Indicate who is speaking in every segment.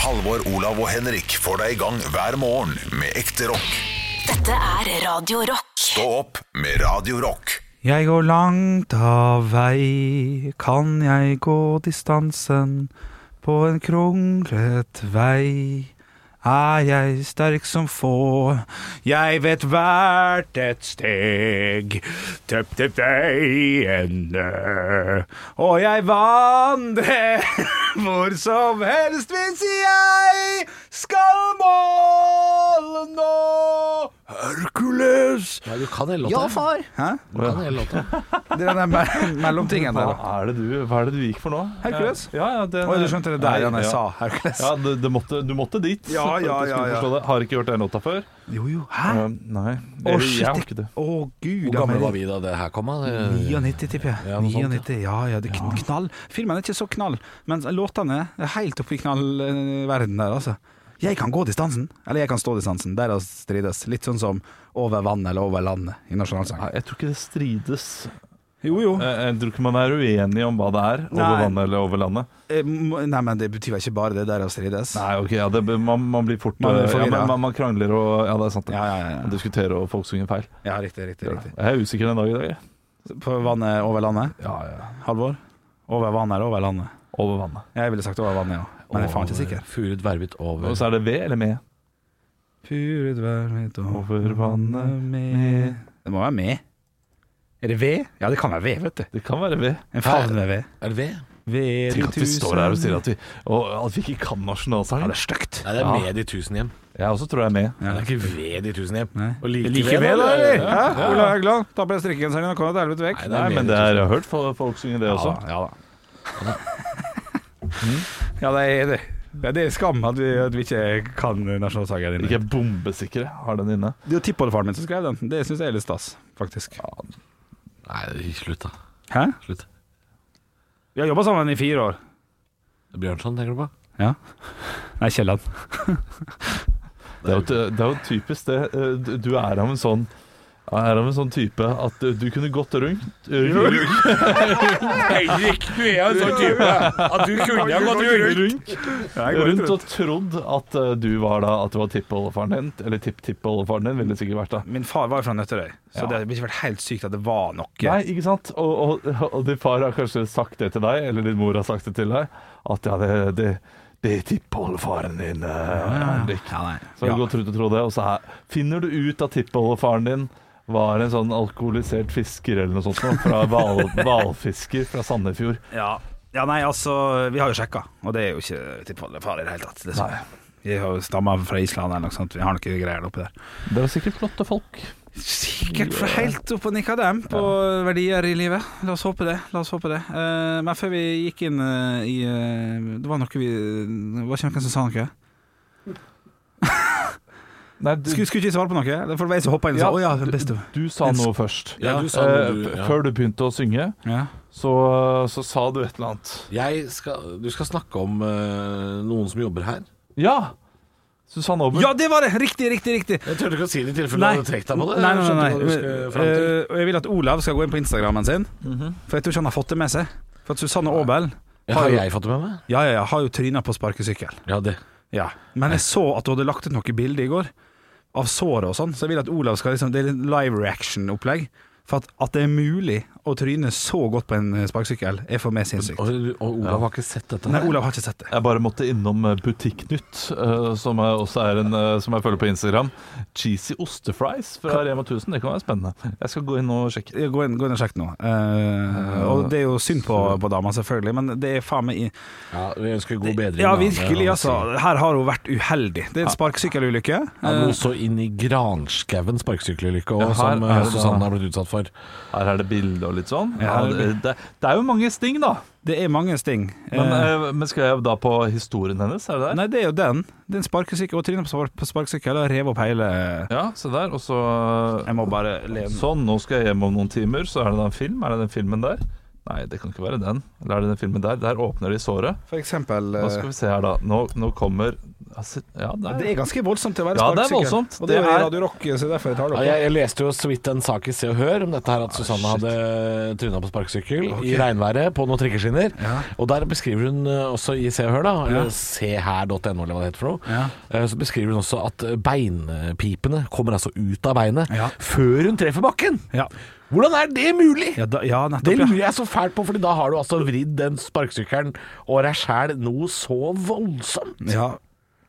Speaker 1: Halvor, Olav og Henrik får deg i gang hver morgen med ekte rock.
Speaker 2: Dette er Radio Rock.
Speaker 1: Stå opp med Radio Rock.
Speaker 3: Jeg går langt av vei, kan jeg gå distansen på en kronglet vei. Er jeg sterk som få, jeg vet hvert et steg. Tøpp til veiene, og jeg vandrer hvor som helst hvis jeg skal måle nå. Hercules!
Speaker 4: Nei, du kan hele låta. Ja, far!
Speaker 3: Hæ?
Speaker 4: Du kan hele låta.
Speaker 3: Det er den me mellomtingen der. da.
Speaker 5: Hva er, det du, hva er det du gikk for nå?
Speaker 3: Hercules?
Speaker 5: Ja, ja, den-
Speaker 3: Oi, du skjønte det der igjen jeg
Speaker 5: ja.
Speaker 3: sa Hercules.
Speaker 5: Ja, du, du, måtte, du måtte dit.
Speaker 3: Ja, ja,
Speaker 5: for at jeg skulle
Speaker 3: ja, ja.
Speaker 5: forstå det. Har ikke hørt den låta før.
Speaker 3: Jo, jo. Hæ?
Speaker 5: Eh, nei.
Speaker 3: Å,
Speaker 5: Jeg- jeg har ikke
Speaker 3: shit.
Speaker 5: det.
Speaker 3: Å, gud.
Speaker 4: Hvor gamle var vi da det her kom? da? Det-
Speaker 3: 99, tipper jeg.
Speaker 4: Ja, noe sånt,
Speaker 3: 99, ja, ja, det er kn- knall. Filmen er ikke så knall, men låtene er helt oppe i knallverden der, altså. Jeg kan gå distansen, eller jeg kan stå distansen. Der å strides. Litt sånn som over vann eller over landet i nasjonalsang.
Speaker 5: Nei, jeg tror ikke det strides.
Speaker 3: Jo, jo.
Speaker 5: Jeg, jeg Eh, tror ikke man er uenig om hva det er, over
Speaker 3: Nei.
Speaker 5: vannet eller over landet.
Speaker 3: Eh, må- Nei, men det betyr vel ikke bare det der å strides.
Speaker 5: Nei, ok, ja, det, man, man blir fort
Speaker 3: Man blir
Speaker 5: eh, ja,
Speaker 3: forvirret.
Speaker 5: men man, man krangler og Ja, det er sant. det.
Speaker 3: Ja, ja, ja, ja.
Speaker 5: Man diskuterer og folk synger feil.
Speaker 3: Ja, riktig, riktig, riktig.
Speaker 5: Jeg er usikker den dag i dag. jeg.
Speaker 3: På vannet over landet?
Speaker 5: Ja, ja.
Speaker 3: Halvor? Over vannet eller over landet?
Speaker 5: Over vannet.
Speaker 3: Jeg ville sagt over vannet, ja. Men jeg er faen ikke sikker.
Speaker 4: Furud vervet over
Speaker 5: Og så er det ved eller med.
Speaker 3: Puret vær mitt
Speaker 5: Over vannet med
Speaker 3: Det må være med. Er det ved? Ja, det kan være ved, vet du.
Speaker 5: Det kan være ved.
Speaker 3: En favneved.
Speaker 4: Er det ved?
Speaker 3: Ved
Speaker 5: Tenk at vi står her og sier at vi, og at vi ikke kan nasjonalsangen.
Speaker 3: Ja, det er stygt.
Speaker 4: Nei, det er
Speaker 5: Ja.
Speaker 4: med de tusen hjem.
Speaker 5: Jeg også tror jeg er med.
Speaker 4: Det er ikke ved de tusen hjem.
Speaker 3: Nei.
Speaker 4: Og like,
Speaker 3: Like ved, da, eller? Hæ? Ola Haugland, ta på deg strikkegenseren din og kom deg til helvete vekk.
Speaker 4: Nei, det
Speaker 5: Nei,
Speaker 4: er
Speaker 5: men
Speaker 4: med
Speaker 5: det
Speaker 4: de
Speaker 5: er, jeg har hørt fo- folk synge det også.
Speaker 3: Ja da. Ja, det er det. Ja, det er skam at vi, at vi ikke kan nasjonalsangen
Speaker 5: Ikke er bombesikre har den inne.
Speaker 3: Det er jo tippoldefaren min som skrev den. Det syns jeg er litt stas, faktisk.
Speaker 4: tusen. Nei, slutt, da.
Speaker 3: Hæ?
Speaker 4: Slutt.
Speaker 3: Vi har jobba sammen i fire år.
Speaker 4: Bjørnson, tenker du på?
Speaker 3: Ja. Nei, Kielland.
Speaker 5: Det er jo, t- det er jo typisk det. eh, du- Du er av en sånn er av en sånn type at eh, du kunne gått rundt eh, Rundt,
Speaker 4: Henrik, du er en sånn type at du kunne ha gått
Speaker 5: rundt, rundt og trodd at eh, du var da At det var tippoldefaren din. Eller tipptippoldefaren din ville det sikkert vært da.
Speaker 3: Min far var jo fra Nøtterøy, så
Speaker 5: Ja.
Speaker 3: det hadde ikke vært helt sykt at det var noe.
Speaker 5: Nei, ikke sant? Og, og, og din far har kanskje sagt det til deg, eller din mor har sagt det til deg, at ja, det, det, det er tippoldefaren din, eh, Henrik.
Speaker 3: Ja, nei.
Speaker 5: Så har
Speaker 3: Ja.
Speaker 5: du gått rundt og trodd det, og så her, finner du ut at tippoldefaren din var en sånn alkoholisert fisker eller noe sånt, noe, fra hval- hvalfisker fra Sandefjord.
Speaker 3: Ja. ja, nei, altså, vi har jo sjekka, og det er jo ikke tippoldefar i det hele tatt. dessverre. Vi har jo stamma fra Island eller noe sånt, vi har noe greier oppi der.
Speaker 5: Det var sikkert flotte folk.
Speaker 3: Sikkert fra helt opp og nikka dem på verdier i livet. La oss håpe det. la oss håpe det Eh, Men før vi gikk inn eh, i eh, Det var noe vi Det var ikke noen som sa noe?
Speaker 5: Nei, du,
Speaker 3: Skulle, skulle ikke svare på noe? Det var jeg som hoppa inn og sa
Speaker 5: Ja,
Speaker 3: 'Å ja, den beste'.
Speaker 5: du sa noe først.
Speaker 4: Ja, du sa noe, du,
Speaker 5: Eh, f-
Speaker 4: ja.
Speaker 5: Før du begynte å synge,
Speaker 3: Ja.
Speaker 5: så, så sa du et eller annet.
Speaker 4: Jeg skal, du skal snakke om eh, noen som jobber her.
Speaker 5: Ja! Susanne Aabel.
Speaker 3: ja, det var det! Riktig, riktig, riktig.
Speaker 4: Jeg turte ikke å si det i tilfelle
Speaker 3: Nei.
Speaker 4: du hadde trukket deg på det.
Speaker 3: Nei, nei,
Speaker 4: Jeg
Speaker 3: nei,
Speaker 4: skjønte hva du skulle
Speaker 3: nei.
Speaker 4: fram til.
Speaker 3: Eh, Og jeg vil at Olav skal gå inn på Instagrammen sin, for jeg tror ikke han har fått det med seg. For at Susanne Aabel
Speaker 4: Har jeg fått det med meg?
Speaker 3: ja, ja, ja, har jo tryna på sparkesykkel.
Speaker 4: Ja, det.
Speaker 3: Ja. Men jeg så at du hadde lagt ut noe bilde i går av såret og sånn, så jeg vil at Olav skal liksom, Det er litt live reaction-opplegg. For at, at det er mulig å tryne så godt på en eh, sparkesykkel, er for meg sinnssykt.
Speaker 4: Og, og Olav har ikke sett dette.
Speaker 3: Nei,
Speaker 4: her.
Speaker 3: Olav har ikke sett det.
Speaker 5: Jeg bare måtte innom eh, Butikknytt, eh, som jeg også er en eh, Som jeg følger på Instagram. Cheesy ostefries fra Rema 1000. Det kan være spennende. Jeg skal gå inn og sjekke.
Speaker 3: Ja, Gå inn, gå inn og sjekk nå. Eh, og det er jo synd på, på dama, selvfølgelig, men det er faen meg i
Speaker 4: Ja, vi ønsker god bedring.
Speaker 3: Ja,
Speaker 4: da. Det
Speaker 3: virkelig,
Speaker 4: er
Speaker 3: altså.
Speaker 4: han
Speaker 3: Her har hun vært uheldig. Det er en sparkesykkelulykke. Eh,
Speaker 4: Han lå så inn i granskauen sparkesykkelulykke
Speaker 5: Eh. Ja,
Speaker 4: og
Speaker 5: her
Speaker 4: som eh,
Speaker 5: er det da.
Speaker 4: Susanne har blitt utsatt for.
Speaker 5: Her er det bilde og litt sånn.
Speaker 3: Ja,
Speaker 5: det, det, det er jo mange sting, da.
Speaker 3: Det er mange sting.
Speaker 5: Men,
Speaker 3: eh,
Speaker 5: eh, men skal jeg da på historien hennes? Er det der?
Speaker 3: nei, det er jo den. Det er en sparkesykkel. Og trynet på spark- på sparkesykkel og rev opp hele
Speaker 5: Ja, se der. Og så
Speaker 3: Jeg må bare lene
Speaker 5: Sånn, nå skal jeg hjem om noen timer. Så er det da en film. Er det den filmen der? Nei, det kan ikke være den. Eller er det den filmen der? Der åpner de såret.
Speaker 3: For eksempel
Speaker 5: Hva skal vi se her, da. Nå, nå kommer altså, Ja,
Speaker 3: eh,
Speaker 5: der.
Speaker 3: Det er ganske voldsomt til å være
Speaker 5: Ja, det er
Speaker 3: sparkesykkel.
Speaker 5: voldsomt.
Speaker 3: Og det er
Speaker 5: Det
Speaker 3: jo i
Speaker 5: er-
Speaker 3: Radio Rock, så derfor jeg tar det
Speaker 4: Ja,
Speaker 3: opp.
Speaker 4: jeg, jeg leste jo så vidt en sak i Se og Hør om dette her
Speaker 5: Ah,
Speaker 4: at Susanne hadde tryna på sparkesykkel i regnværet på noen trikkeskinner. Og der beskriver hun eh, også i Se og Hør, da, eller seher.no eller hva det heter for noe, eh, så beskriver hun også at eh, beinpipene kommer altså ut av beinet
Speaker 6: Ja.
Speaker 4: før hun treffer bakken.
Speaker 6: Ja,
Speaker 4: Hvordan er det mulig?
Speaker 6: ja, da, ja
Speaker 4: Det
Speaker 6: nettopp,
Speaker 4: lurer
Speaker 6: ja.
Speaker 4: jeg så fælt på, Fordi da har du altså vridd den sparkesykkelen og deg sjæl noe så voldsomt.
Speaker 6: ja.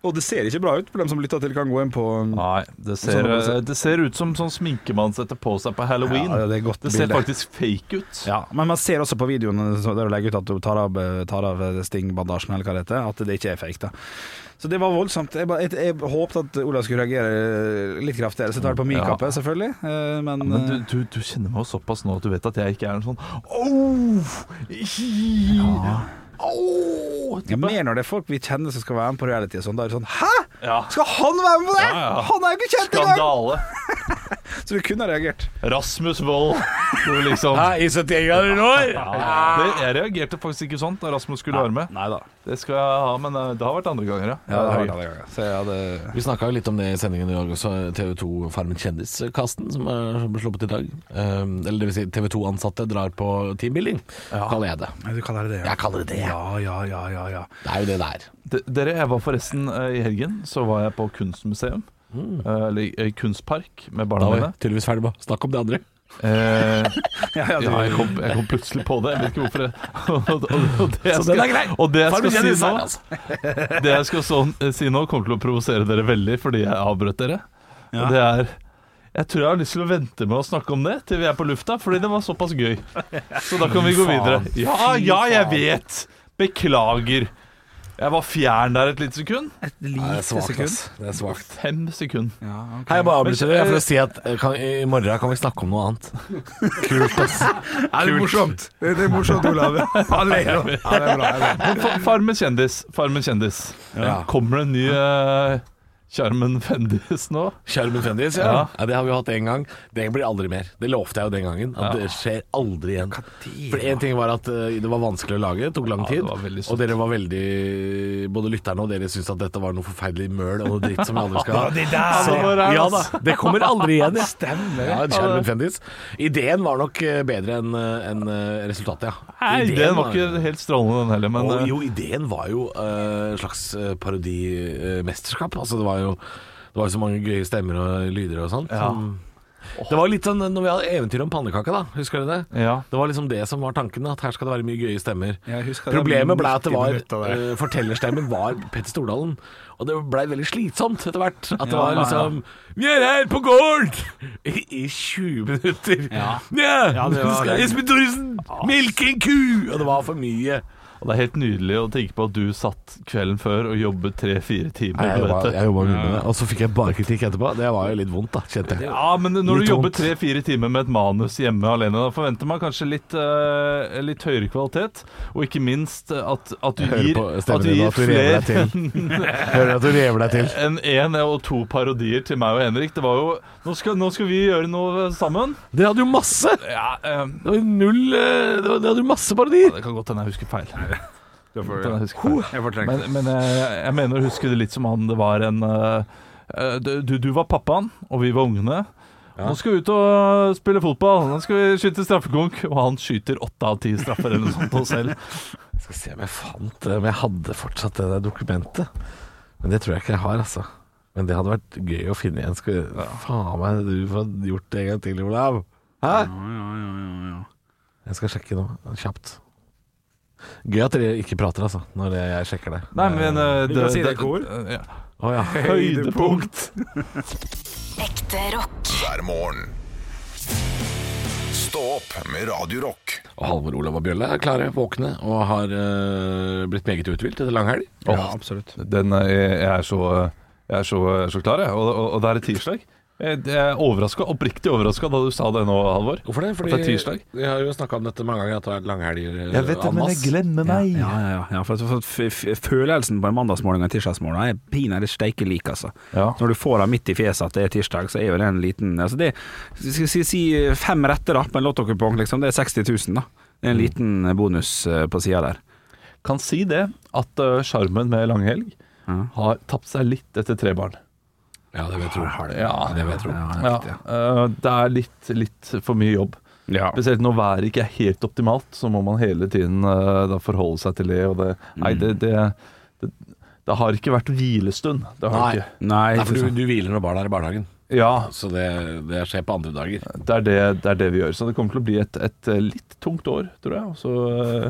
Speaker 3: Og det ser ikke bra ut for dem som lytter til kan gå inn på
Speaker 5: Nei,
Speaker 3: Sånn
Speaker 5: det ser, eh, det ser ut som sånn sminke man setter på seg på halloween.
Speaker 3: Ja, det er et godt
Speaker 5: ser
Speaker 3: bilde.
Speaker 5: faktisk fake ut.
Speaker 3: Ja, Men man ser også på videoen så der du legger ut at du tar av, tar av stingbandasjen, eller hva det heter, at det ikke er fake. da Så det var voldsomt. Jeg, bare- jeg, jeg håpet at Olav skulle reagere eh, litt kraftigere, så jeg tar det på min
Speaker 5: Ja.
Speaker 3: kappe, selvfølgelig. Eh, Men,
Speaker 5: Men du,
Speaker 3: eh,
Speaker 5: du, du kjenner meg jo såpass nå at du vet at jeg ikke er en sånn Åh, hi, Åh,
Speaker 3: ja,
Speaker 5: type.
Speaker 3: mer når det er folk vi kjenner som skal være med på reality og sånn. Da er det sånn Hæ!
Speaker 5: Ja.
Speaker 3: Skal han være med på det?!
Speaker 5: Ja, ja.
Speaker 3: Han er jo ikke kjent engang!
Speaker 5: Skandale.
Speaker 3: Så du kunne ha reagert.
Speaker 5: Rasmus Wold. Du liksom
Speaker 4: Ah, I 71 grader nord!
Speaker 5: det, Jeg reagerte faktisk ikke sånn da Rasmus skulle være med.
Speaker 3: Nei da.
Speaker 5: Det skal jeg ha, men eh, det har vært andre ganger,
Speaker 3: Ja, det har jeg alle ganger. Så jeg hadde
Speaker 4: Vi snakka jo litt om det i sendingen i dag også, TV 2 Farmen kjendis-kasten som er som ble sluppet i dag. Um, eller det vil si, TV 2-ansatte drar på teambuilding, kaller jeg det.
Speaker 6: Du kaller det det, ja.
Speaker 4: Jeg kaller det det.
Speaker 6: Ja, ja, ja, ja, ja.
Speaker 4: Det er jo det det er.
Speaker 5: D- Dere, jeg var forresten eh, i helgen Så var jeg på kunstmuseum eh, Eller i- i kunstpark med
Speaker 4: Da
Speaker 5: barna
Speaker 4: var
Speaker 5: mine
Speaker 4: vi tydeligvis ferdig med å snakke om det andre.
Speaker 5: Eh,
Speaker 3: Ja, ja, du-
Speaker 5: ja, jeg, kom, jeg kom plutselig på det Jeg vet ikke hvorfor jeg, og, og, og det jeg
Speaker 4: Så den er
Speaker 5: skal,
Speaker 4: grei.
Speaker 5: og det jeg
Speaker 4: Farmen
Speaker 5: skal si
Speaker 4: kjendis
Speaker 5: nå
Speaker 4: er altså.
Speaker 5: Det jeg skal sånn, eh, si nå kommer til å provosere dere veldig Fordi jeg avbrøt dere Og det er Jeg tror jeg har lyst til å vente med å snakke om det Til vi er på lufta Fordi det var såpass gøy Så da kan vi gå videre Ja, ja, jeg vet Beklager Jeg var fjern der et litt sekund
Speaker 4: Nei, det er svakt, ass. Det er svakt.
Speaker 5: Fem sekund
Speaker 4: Hei, jeg bare avbryter dere for å si at eh, kan, i morgen kan vi snakke om noe annet. Kult, ass.
Speaker 3: Ja, det er morsomt. Det det er morsomt, Olav. Han ler nå. Ja, det er bra. Det er bra.
Speaker 5: Men fa- Farmen kjendis. Farmen kjendis.
Speaker 4: Ja.
Speaker 5: Kommer det en ny eh, Charmen Fendis nå?
Speaker 4: Skjermen Fendis, ja.
Speaker 5: Ja.
Speaker 4: ja. Det har vi hatt én gang. Det blir aldri mer. Det lovte jeg jo den gangen. At det skjer aldri igjen. For én ting var at eh, det var vanskelig å lage, det tok lang
Speaker 5: Ja, det
Speaker 4: tid.
Speaker 5: var veldig
Speaker 4: og dere var veldig Både lytterne og dere syntes at dette var noe forferdelig møl og noe dritt som vi aldri skal ha. Så,
Speaker 5: det var det,
Speaker 4: ja da,
Speaker 5: ass.
Speaker 4: det kommer aldri igjen. Ja. Stemmer. Ja, Skjermen Fendis. Ideen var nok eh, bedre enn eh, enn, eh, resultatet, ja.
Speaker 5: Nei,
Speaker 4: Ideen
Speaker 5: den var ikke helt strålende, den heller. Men
Speaker 4: og,
Speaker 5: eh,
Speaker 4: jo, ideen var jo eh, en slags eh, parodimesterskap. altså, det var jo det var jo så mange gøye stemmer og lyder og sånt.
Speaker 5: Ja.
Speaker 4: som- Det var litt sånn eh, når vi hadde eventyr om pannekaka, da. Husker du det?
Speaker 5: ja.
Speaker 4: Det var liksom det som var tanken, at her skal det være mye gøye stemmer.
Speaker 3: Jeg husker det
Speaker 4: Problemet ble at det
Speaker 3: 90
Speaker 4: var
Speaker 3: minutter der.
Speaker 4: eh, fortellerstemmen var Petter Stordalen. Og det blei veldig slitsomt etter hvert. At det var liksom Vi er her på gården! I, i 20 minutter. Ja,
Speaker 3: det var-
Speaker 4: skal Espen Thoresen melke en ku! Og det var for mye.
Speaker 5: Og det er helt nydelig å tenke på at du satt kvelden før og jobbet tre-fire timer.
Speaker 4: Nei, jeg
Speaker 5: på
Speaker 4: jobba,
Speaker 5: dette.
Speaker 4: jeg jobba mye med det, og så fikk jeg bare kritikk etterpå. Det var jo litt vondt, da, kjente jeg.
Speaker 5: Ja, men når
Speaker 4: Litt
Speaker 5: du jobber
Speaker 4: vondt.
Speaker 5: tre-fire timer med et manus hjemme alene, da forventer man kanskje litt, eh, litt høyere kvalitet. Og ikke minst at, at du
Speaker 4: Jeg hører
Speaker 5: gir,
Speaker 4: på
Speaker 5: at
Speaker 4: stemmen
Speaker 5: du
Speaker 4: din
Speaker 5: gir
Speaker 4: at du rever
Speaker 5: flere
Speaker 4: deg til. Jeg Hører at du rever deg til.
Speaker 5: enn én og to parodier til meg og Henrik. Det var jo Nå skal, nå skal vi gjøre noe sammen.
Speaker 4: Dere hadde jo masse!
Speaker 5: Ja, eh,
Speaker 4: Det var jo null eh, det var- Dere hadde jo masse parodier.
Speaker 5: Det kan godt hende jeg husker feil.
Speaker 3: Jeg
Speaker 5: Godt hende
Speaker 3: får-
Speaker 5: jeg husker feil.
Speaker 3: jeg får
Speaker 5: Men,
Speaker 3: trengt.
Speaker 5: men jeg, jeg mener å huske det litt som han det var en eh, eh, du, du var pappaen, og vi var ungene. Nå skal vi ut og spille fotball. Nå skal vi skyte straffekonk. Og han skyter åtte av ti straffer eller noe sånt og selv.
Speaker 4: Jeg skal se om jeg fant det, om jeg hadde fortsatt det der dokumentet. Men det tror jeg ikke jeg har, altså. Men det hadde vært gøy å finne igjen. Skal Faen meg, du får gjort det en gang til, Olav. Hæ? Jeg skal sjekke nå, kjapt. Gøy at dere ikke prater, altså, når jeg sjekker det.
Speaker 5: Nei, men eh,
Speaker 3: Vi kan si det i kor.
Speaker 5: eh, ja.
Speaker 4: Å ja.
Speaker 5: Høydepunkt.
Speaker 2: Ekte rock.
Speaker 1: hver morgen. Stå opp med Radio Rock.
Speaker 4: Og Halvor, Olav og Bjølle er klare, våkne og har eh, blitt meget uthvilt etter langhelg.
Speaker 3: Ja, absolutt.
Speaker 5: Den er, jeg, er så, jeg er så, jeg er så klar, jeg. Og, og, og det er et tirsdag. Jeg jeg er overraska, oppriktig overraska da du sa det nå, Halvor.
Speaker 4: Hvorfor det? Fordi
Speaker 5: At det er tirsdag?
Speaker 4: Vi har jo snakka om dette mange ganger, at det har vært langhelger eh, en masse.
Speaker 5: glemmer meg.
Speaker 3: Ja, ja, ja, ja. For, for, for f- følelsen på en mandagsmorgen og en tirsdagsmorgen er pinadø steike lik, altså.
Speaker 5: Ja.
Speaker 3: Når du får den midt i fjeset at det er tirsdag, så er jo det eh, en liten altså det, Skal vi si, si fem retter da, på en lottokupong, liksom. Det er 60 000, da. Det
Speaker 4: Mm.
Speaker 3: er en liten bonus eh, på sida der.
Speaker 5: Kan si det at eh, sjarmen med langhelg har tapt seg litt etter tre barn.
Speaker 4: Ja, det vil jeg tro.
Speaker 5: Ja.
Speaker 4: Det vil jeg tro.
Speaker 5: Ja, eh, det er litt, litt for mye jobb.
Speaker 3: Ja.
Speaker 5: Spesielt når været ikke er helt optimalt, så må man hele tiden eh, da forholde seg til det. Og det,
Speaker 4: Mm.
Speaker 5: nei, det, det, det, det har ikke vært hvilestund. Det har
Speaker 4: Nei.
Speaker 5: det ikke.
Speaker 3: Nei,
Speaker 4: Nei,
Speaker 3: ikke
Speaker 4: for du,
Speaker 3: sant.
Speaker 4: du hviler når barna er i barnehagen,
Speaker 5: Ja,
Speaker 4: så det, det skjer på andre dager.
Speaker 5: det er det, det er det vi gjør. Så det kommer til å bli et, et eh, litt tungt år, tror jeg. Og så, eh,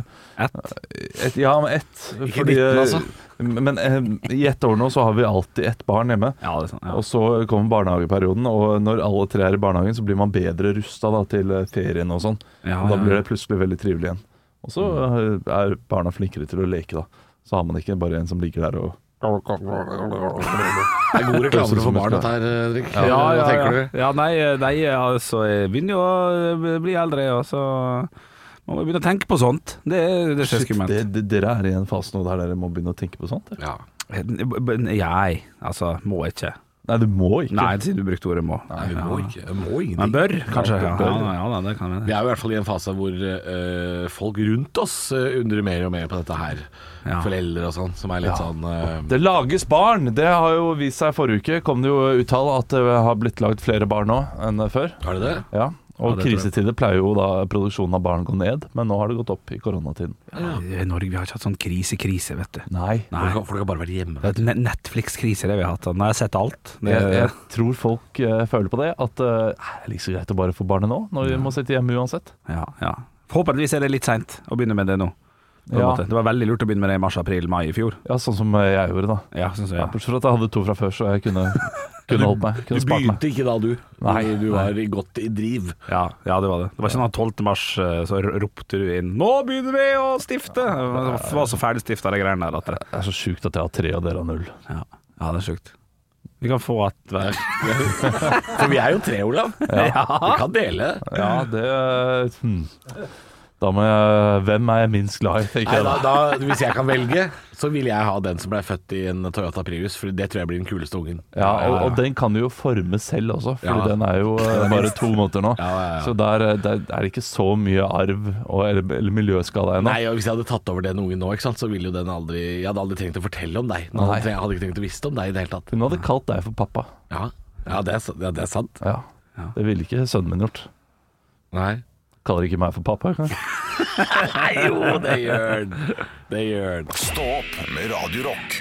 Speaker 5: et, ja, men ett. eh,
Speaker 4: Ikke 19, altså.
Speaker 5: Men eh, i ett år nå så har vi alltid ett barn hjemme.
Speaker 3: sånn- Ja, det er sant. Ja.
Speaker 5: Og så kommer barnehageperioden, og når alle tre er i barnehagen, så blir man bedre rusta til eh, ferien og sånn.
Speaker 3: Ja,
Speaker 5: og da
Speaker 3: ja, Mm. ja.
Speaker 5: blir det plutselig veldig trivelig igjen. Og så eh, er barna flinkere til å leke, da. Så har man ikke bare en som ligger der og
Speaker 4: Det er god reklame for barn, dette her, Henrik. Hva tenker du?
Speaker 3: Ja, nei, nei, altså jeg begynner jo å bli eldre, og så må man begynne å tenke på sånt. Det, er- det skjer
Speaker 5: Shit,
Speaker 3: skummelt.
Speaker 5: det- det- Dere er i en fase nå der dere må begynne å tenke på sånt? eller?
Speaker 4: Ja.
Speaker 3: Eh, Jeg, altså, må ikke.
Speaker 5: Nei, du må ikke.
Speaker 3: Nei, siden du brukte ordet må.
Speaker 4: Nei, vi må ikke. Vi må
Speaker 3: Men
Speaker 4: ingenting.
Speaker 3: bør, kanskje. Ja,
Speaker 5: bør.
Speaker 3: ja, ja, det kan være.
Speaker 4: Vi er jo i hvert fall i en fase hvor eh, folk rundt oss eh, undrer mer og mer på dette her.
Speaker 3: Ja.
Speaker 4: Foreldre og sånn, som er litt sånn eh,
Speaker 5: Det lages barn! Det har jo vist seg forrige uke. Kom det jo uttale at det har blitt lagd flere barn nå enn før.
Speaker 4: Har de det?
Speaker 5: Ja. Og
Speaker 3: det tror jeg.
Speaker 5: krisetider pleier jo da produksjonen av barn gå ned, men nå har det gått opp i koronatiden.
Speaker 3: I Norge vi har ikke hatt sånn krise-krise, vet du.
Speaker 5: Nei.
Speaker 3: Nei.
Speaker 4: Folk, har- folk har bare vært hjemme.
Speaker 3: Det er et Netflix-krise det vi har hatt. Nå har jeg sett alt. Det,
Speaker 5: Jeg, jeg tror folk eh, føler på det. At eh, det er like så greit å bare få barnet nå, når vi må sitte hjemme uansett.
Speaker 3: ja, ja. Forhåpentligvis er det litt seint å begynne med det nå. på en
Speaker 5: Ja.
Speaker 3: måte. Det var veldig lurt å begynne med det i mars, april, mai i fjor.
Speaker 5: Ja, Sånn som eh, jeg gjorde, da.
Speaker 3: Ja, synes jeg,
Speaker 5: Ja,
Speaker 3: ja.
Speaker 5: Bortsett fra at jeg hadde to fra før, så jeg kunne, kunne holdt meg.
Speaker 4: Du
Speaker 5: Kunne spart meg.
Speaker 4: begynte ikke da, du.
Speaker 5: Nei,
Speaker 4: du var i godt i driv.
Speaker 3: Ja, ja, det var det. Det var ikke noe 12. mars, eh, så r- ropte du inn 'Nå begynner vi å stifte!' Det var så ferdigstifta, de greiene der. At det.
Speaker 5: Det er så sjukt at jeg har tre og dere har null.
Speaker 3: Ja. ja, det er sjukt. Vi kan få at hver
Speaker 4: For vi er jo tre, Olav. Vi kan dele.
Speaker 5: Ja, det hmm. Da må jeg Hvem er jeg minst glad i, tenker
Speaker 4: Nei,
Speaker 5: jeg
Speaker 4: da,
Speaker 5: da.
Speaker 4: da, hvis jeg kan velge, så vil jeg ha den som ble født i en Toyota Prius, for det tror jeg blir den kuleste ungen.
Speaker 5: Ja, og, og den kan du jo forme selv også, Fordi
Speaker 4: Ja.
Speaker 5: den er jo eh, bare to måneder nå.
Speaker 4: Ja, ja, ja.
Speaker 5: Så der, eh, der er det ikke så mye arv og, eller, eller miljøskade ennå.
Speaker 4: Nei, og Hvis jeg hadde tatt over den ungen nå, ikke sant, så ville jo den aldri Jeg hadde aldri trengt å fortelle om deg. Den hadde
Speaker 5: Nei.
Speaker 4: tre- Jeg hadde ikke trengt å visste om deg i det hele tatt.
Speaker 5: Hun hadde kalt deg for pappa.
Speaker 4: Ja, ja, det, er, sa- ja det er sant.
Speaker 5: Ja. Det ville ikke sønnen min gjort.
Speaker 4: Nei.
Speaker 5: Kaller ikke meg for pappa. Kan? jeg?
Speaker 4: Nei, jo, det gjør den. Det gjør den.
Speaker 1: Stå opp med Radio Rock.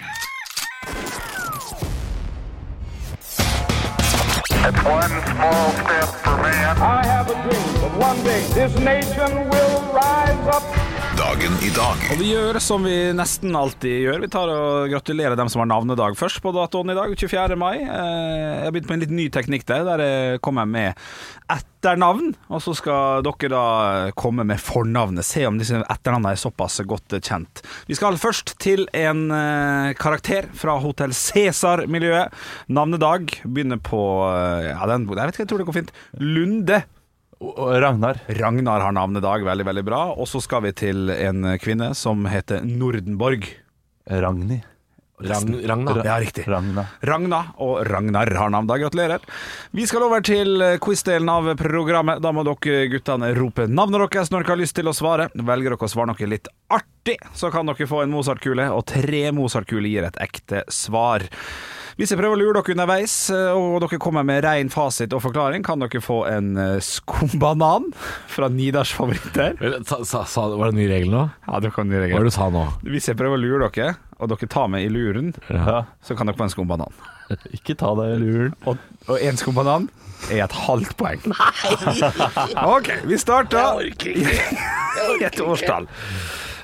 Speaker 7: One small step for man. I have a dream that one day this nation will rise up.
Speaker 1: Dagen i dag.
Speaker 3: Og vi gjør som vi nesten alltid gjør. Vi tar og gratulerer dem som har navnedag først på datoen i dag, 24. mai. Eh, Jeg har begynt på en litt ny teknikk der. Der eh, kommer jeg med etternavn, og så skal dere da eh, komme med fornavnet. Se om disse etternavnene er såpass godt eh, kjent. Vi skal først til en eh, karakter fra Hotell Cæsar-miljøet. Navnedag begynner på eh, Ja, den, jeg vet ikke, jeg tror det går fint. Lunde.
Speaker 5: Og- og Ragnar.
Speaker 3: Ragnar har navnet i dag, veldig, veldig bra. Og så skal vi til en kvinne som heter Nordenborg.
Speaker 5: Ragni.
Speaker 4: Ragn, Ragna.
Speaker 3: Ja, riktig.
Speaker 5: Ragna.
Speaker 3: Ragna og Ragnar har navn da, gratulerer. Vi skal over til quiz-delen av programmet. Da må dere guttene rope navnet deres når dere har lyst til å svare. Velger dere å svare noe litt artig, så kan dere få en Mozart-kule, og tre Mozart-kuler gir et ekte svar. Hvis jeg prøver å lure dere underveis, eh, og dere kommer med rein fasit og forklaring, kan dere få en eh, skumbanan fra Nidars favoritter.
Speaker 4: Vel, Sa, sa, sa, var det en ny regel nå?
Speaker 3: Ja, dere kan
Speaker 4: Hva
Speaker 3: gjøre
Speaker 4: var
Speaker 3: det.
Speaker 4: det du sa nå?
Speaker 3: Hvis jeg prøver å lure dere, og dere tar meg i luren,
Speaker 5: Ja.
Speaker 3: så kan dere få en skumbanan.
Speaker 5: Ikke ta deg i luren.
Speaker 3: Og, og en skumbanan er et halvt poeng. Nei! ok, vi starter i et årstall.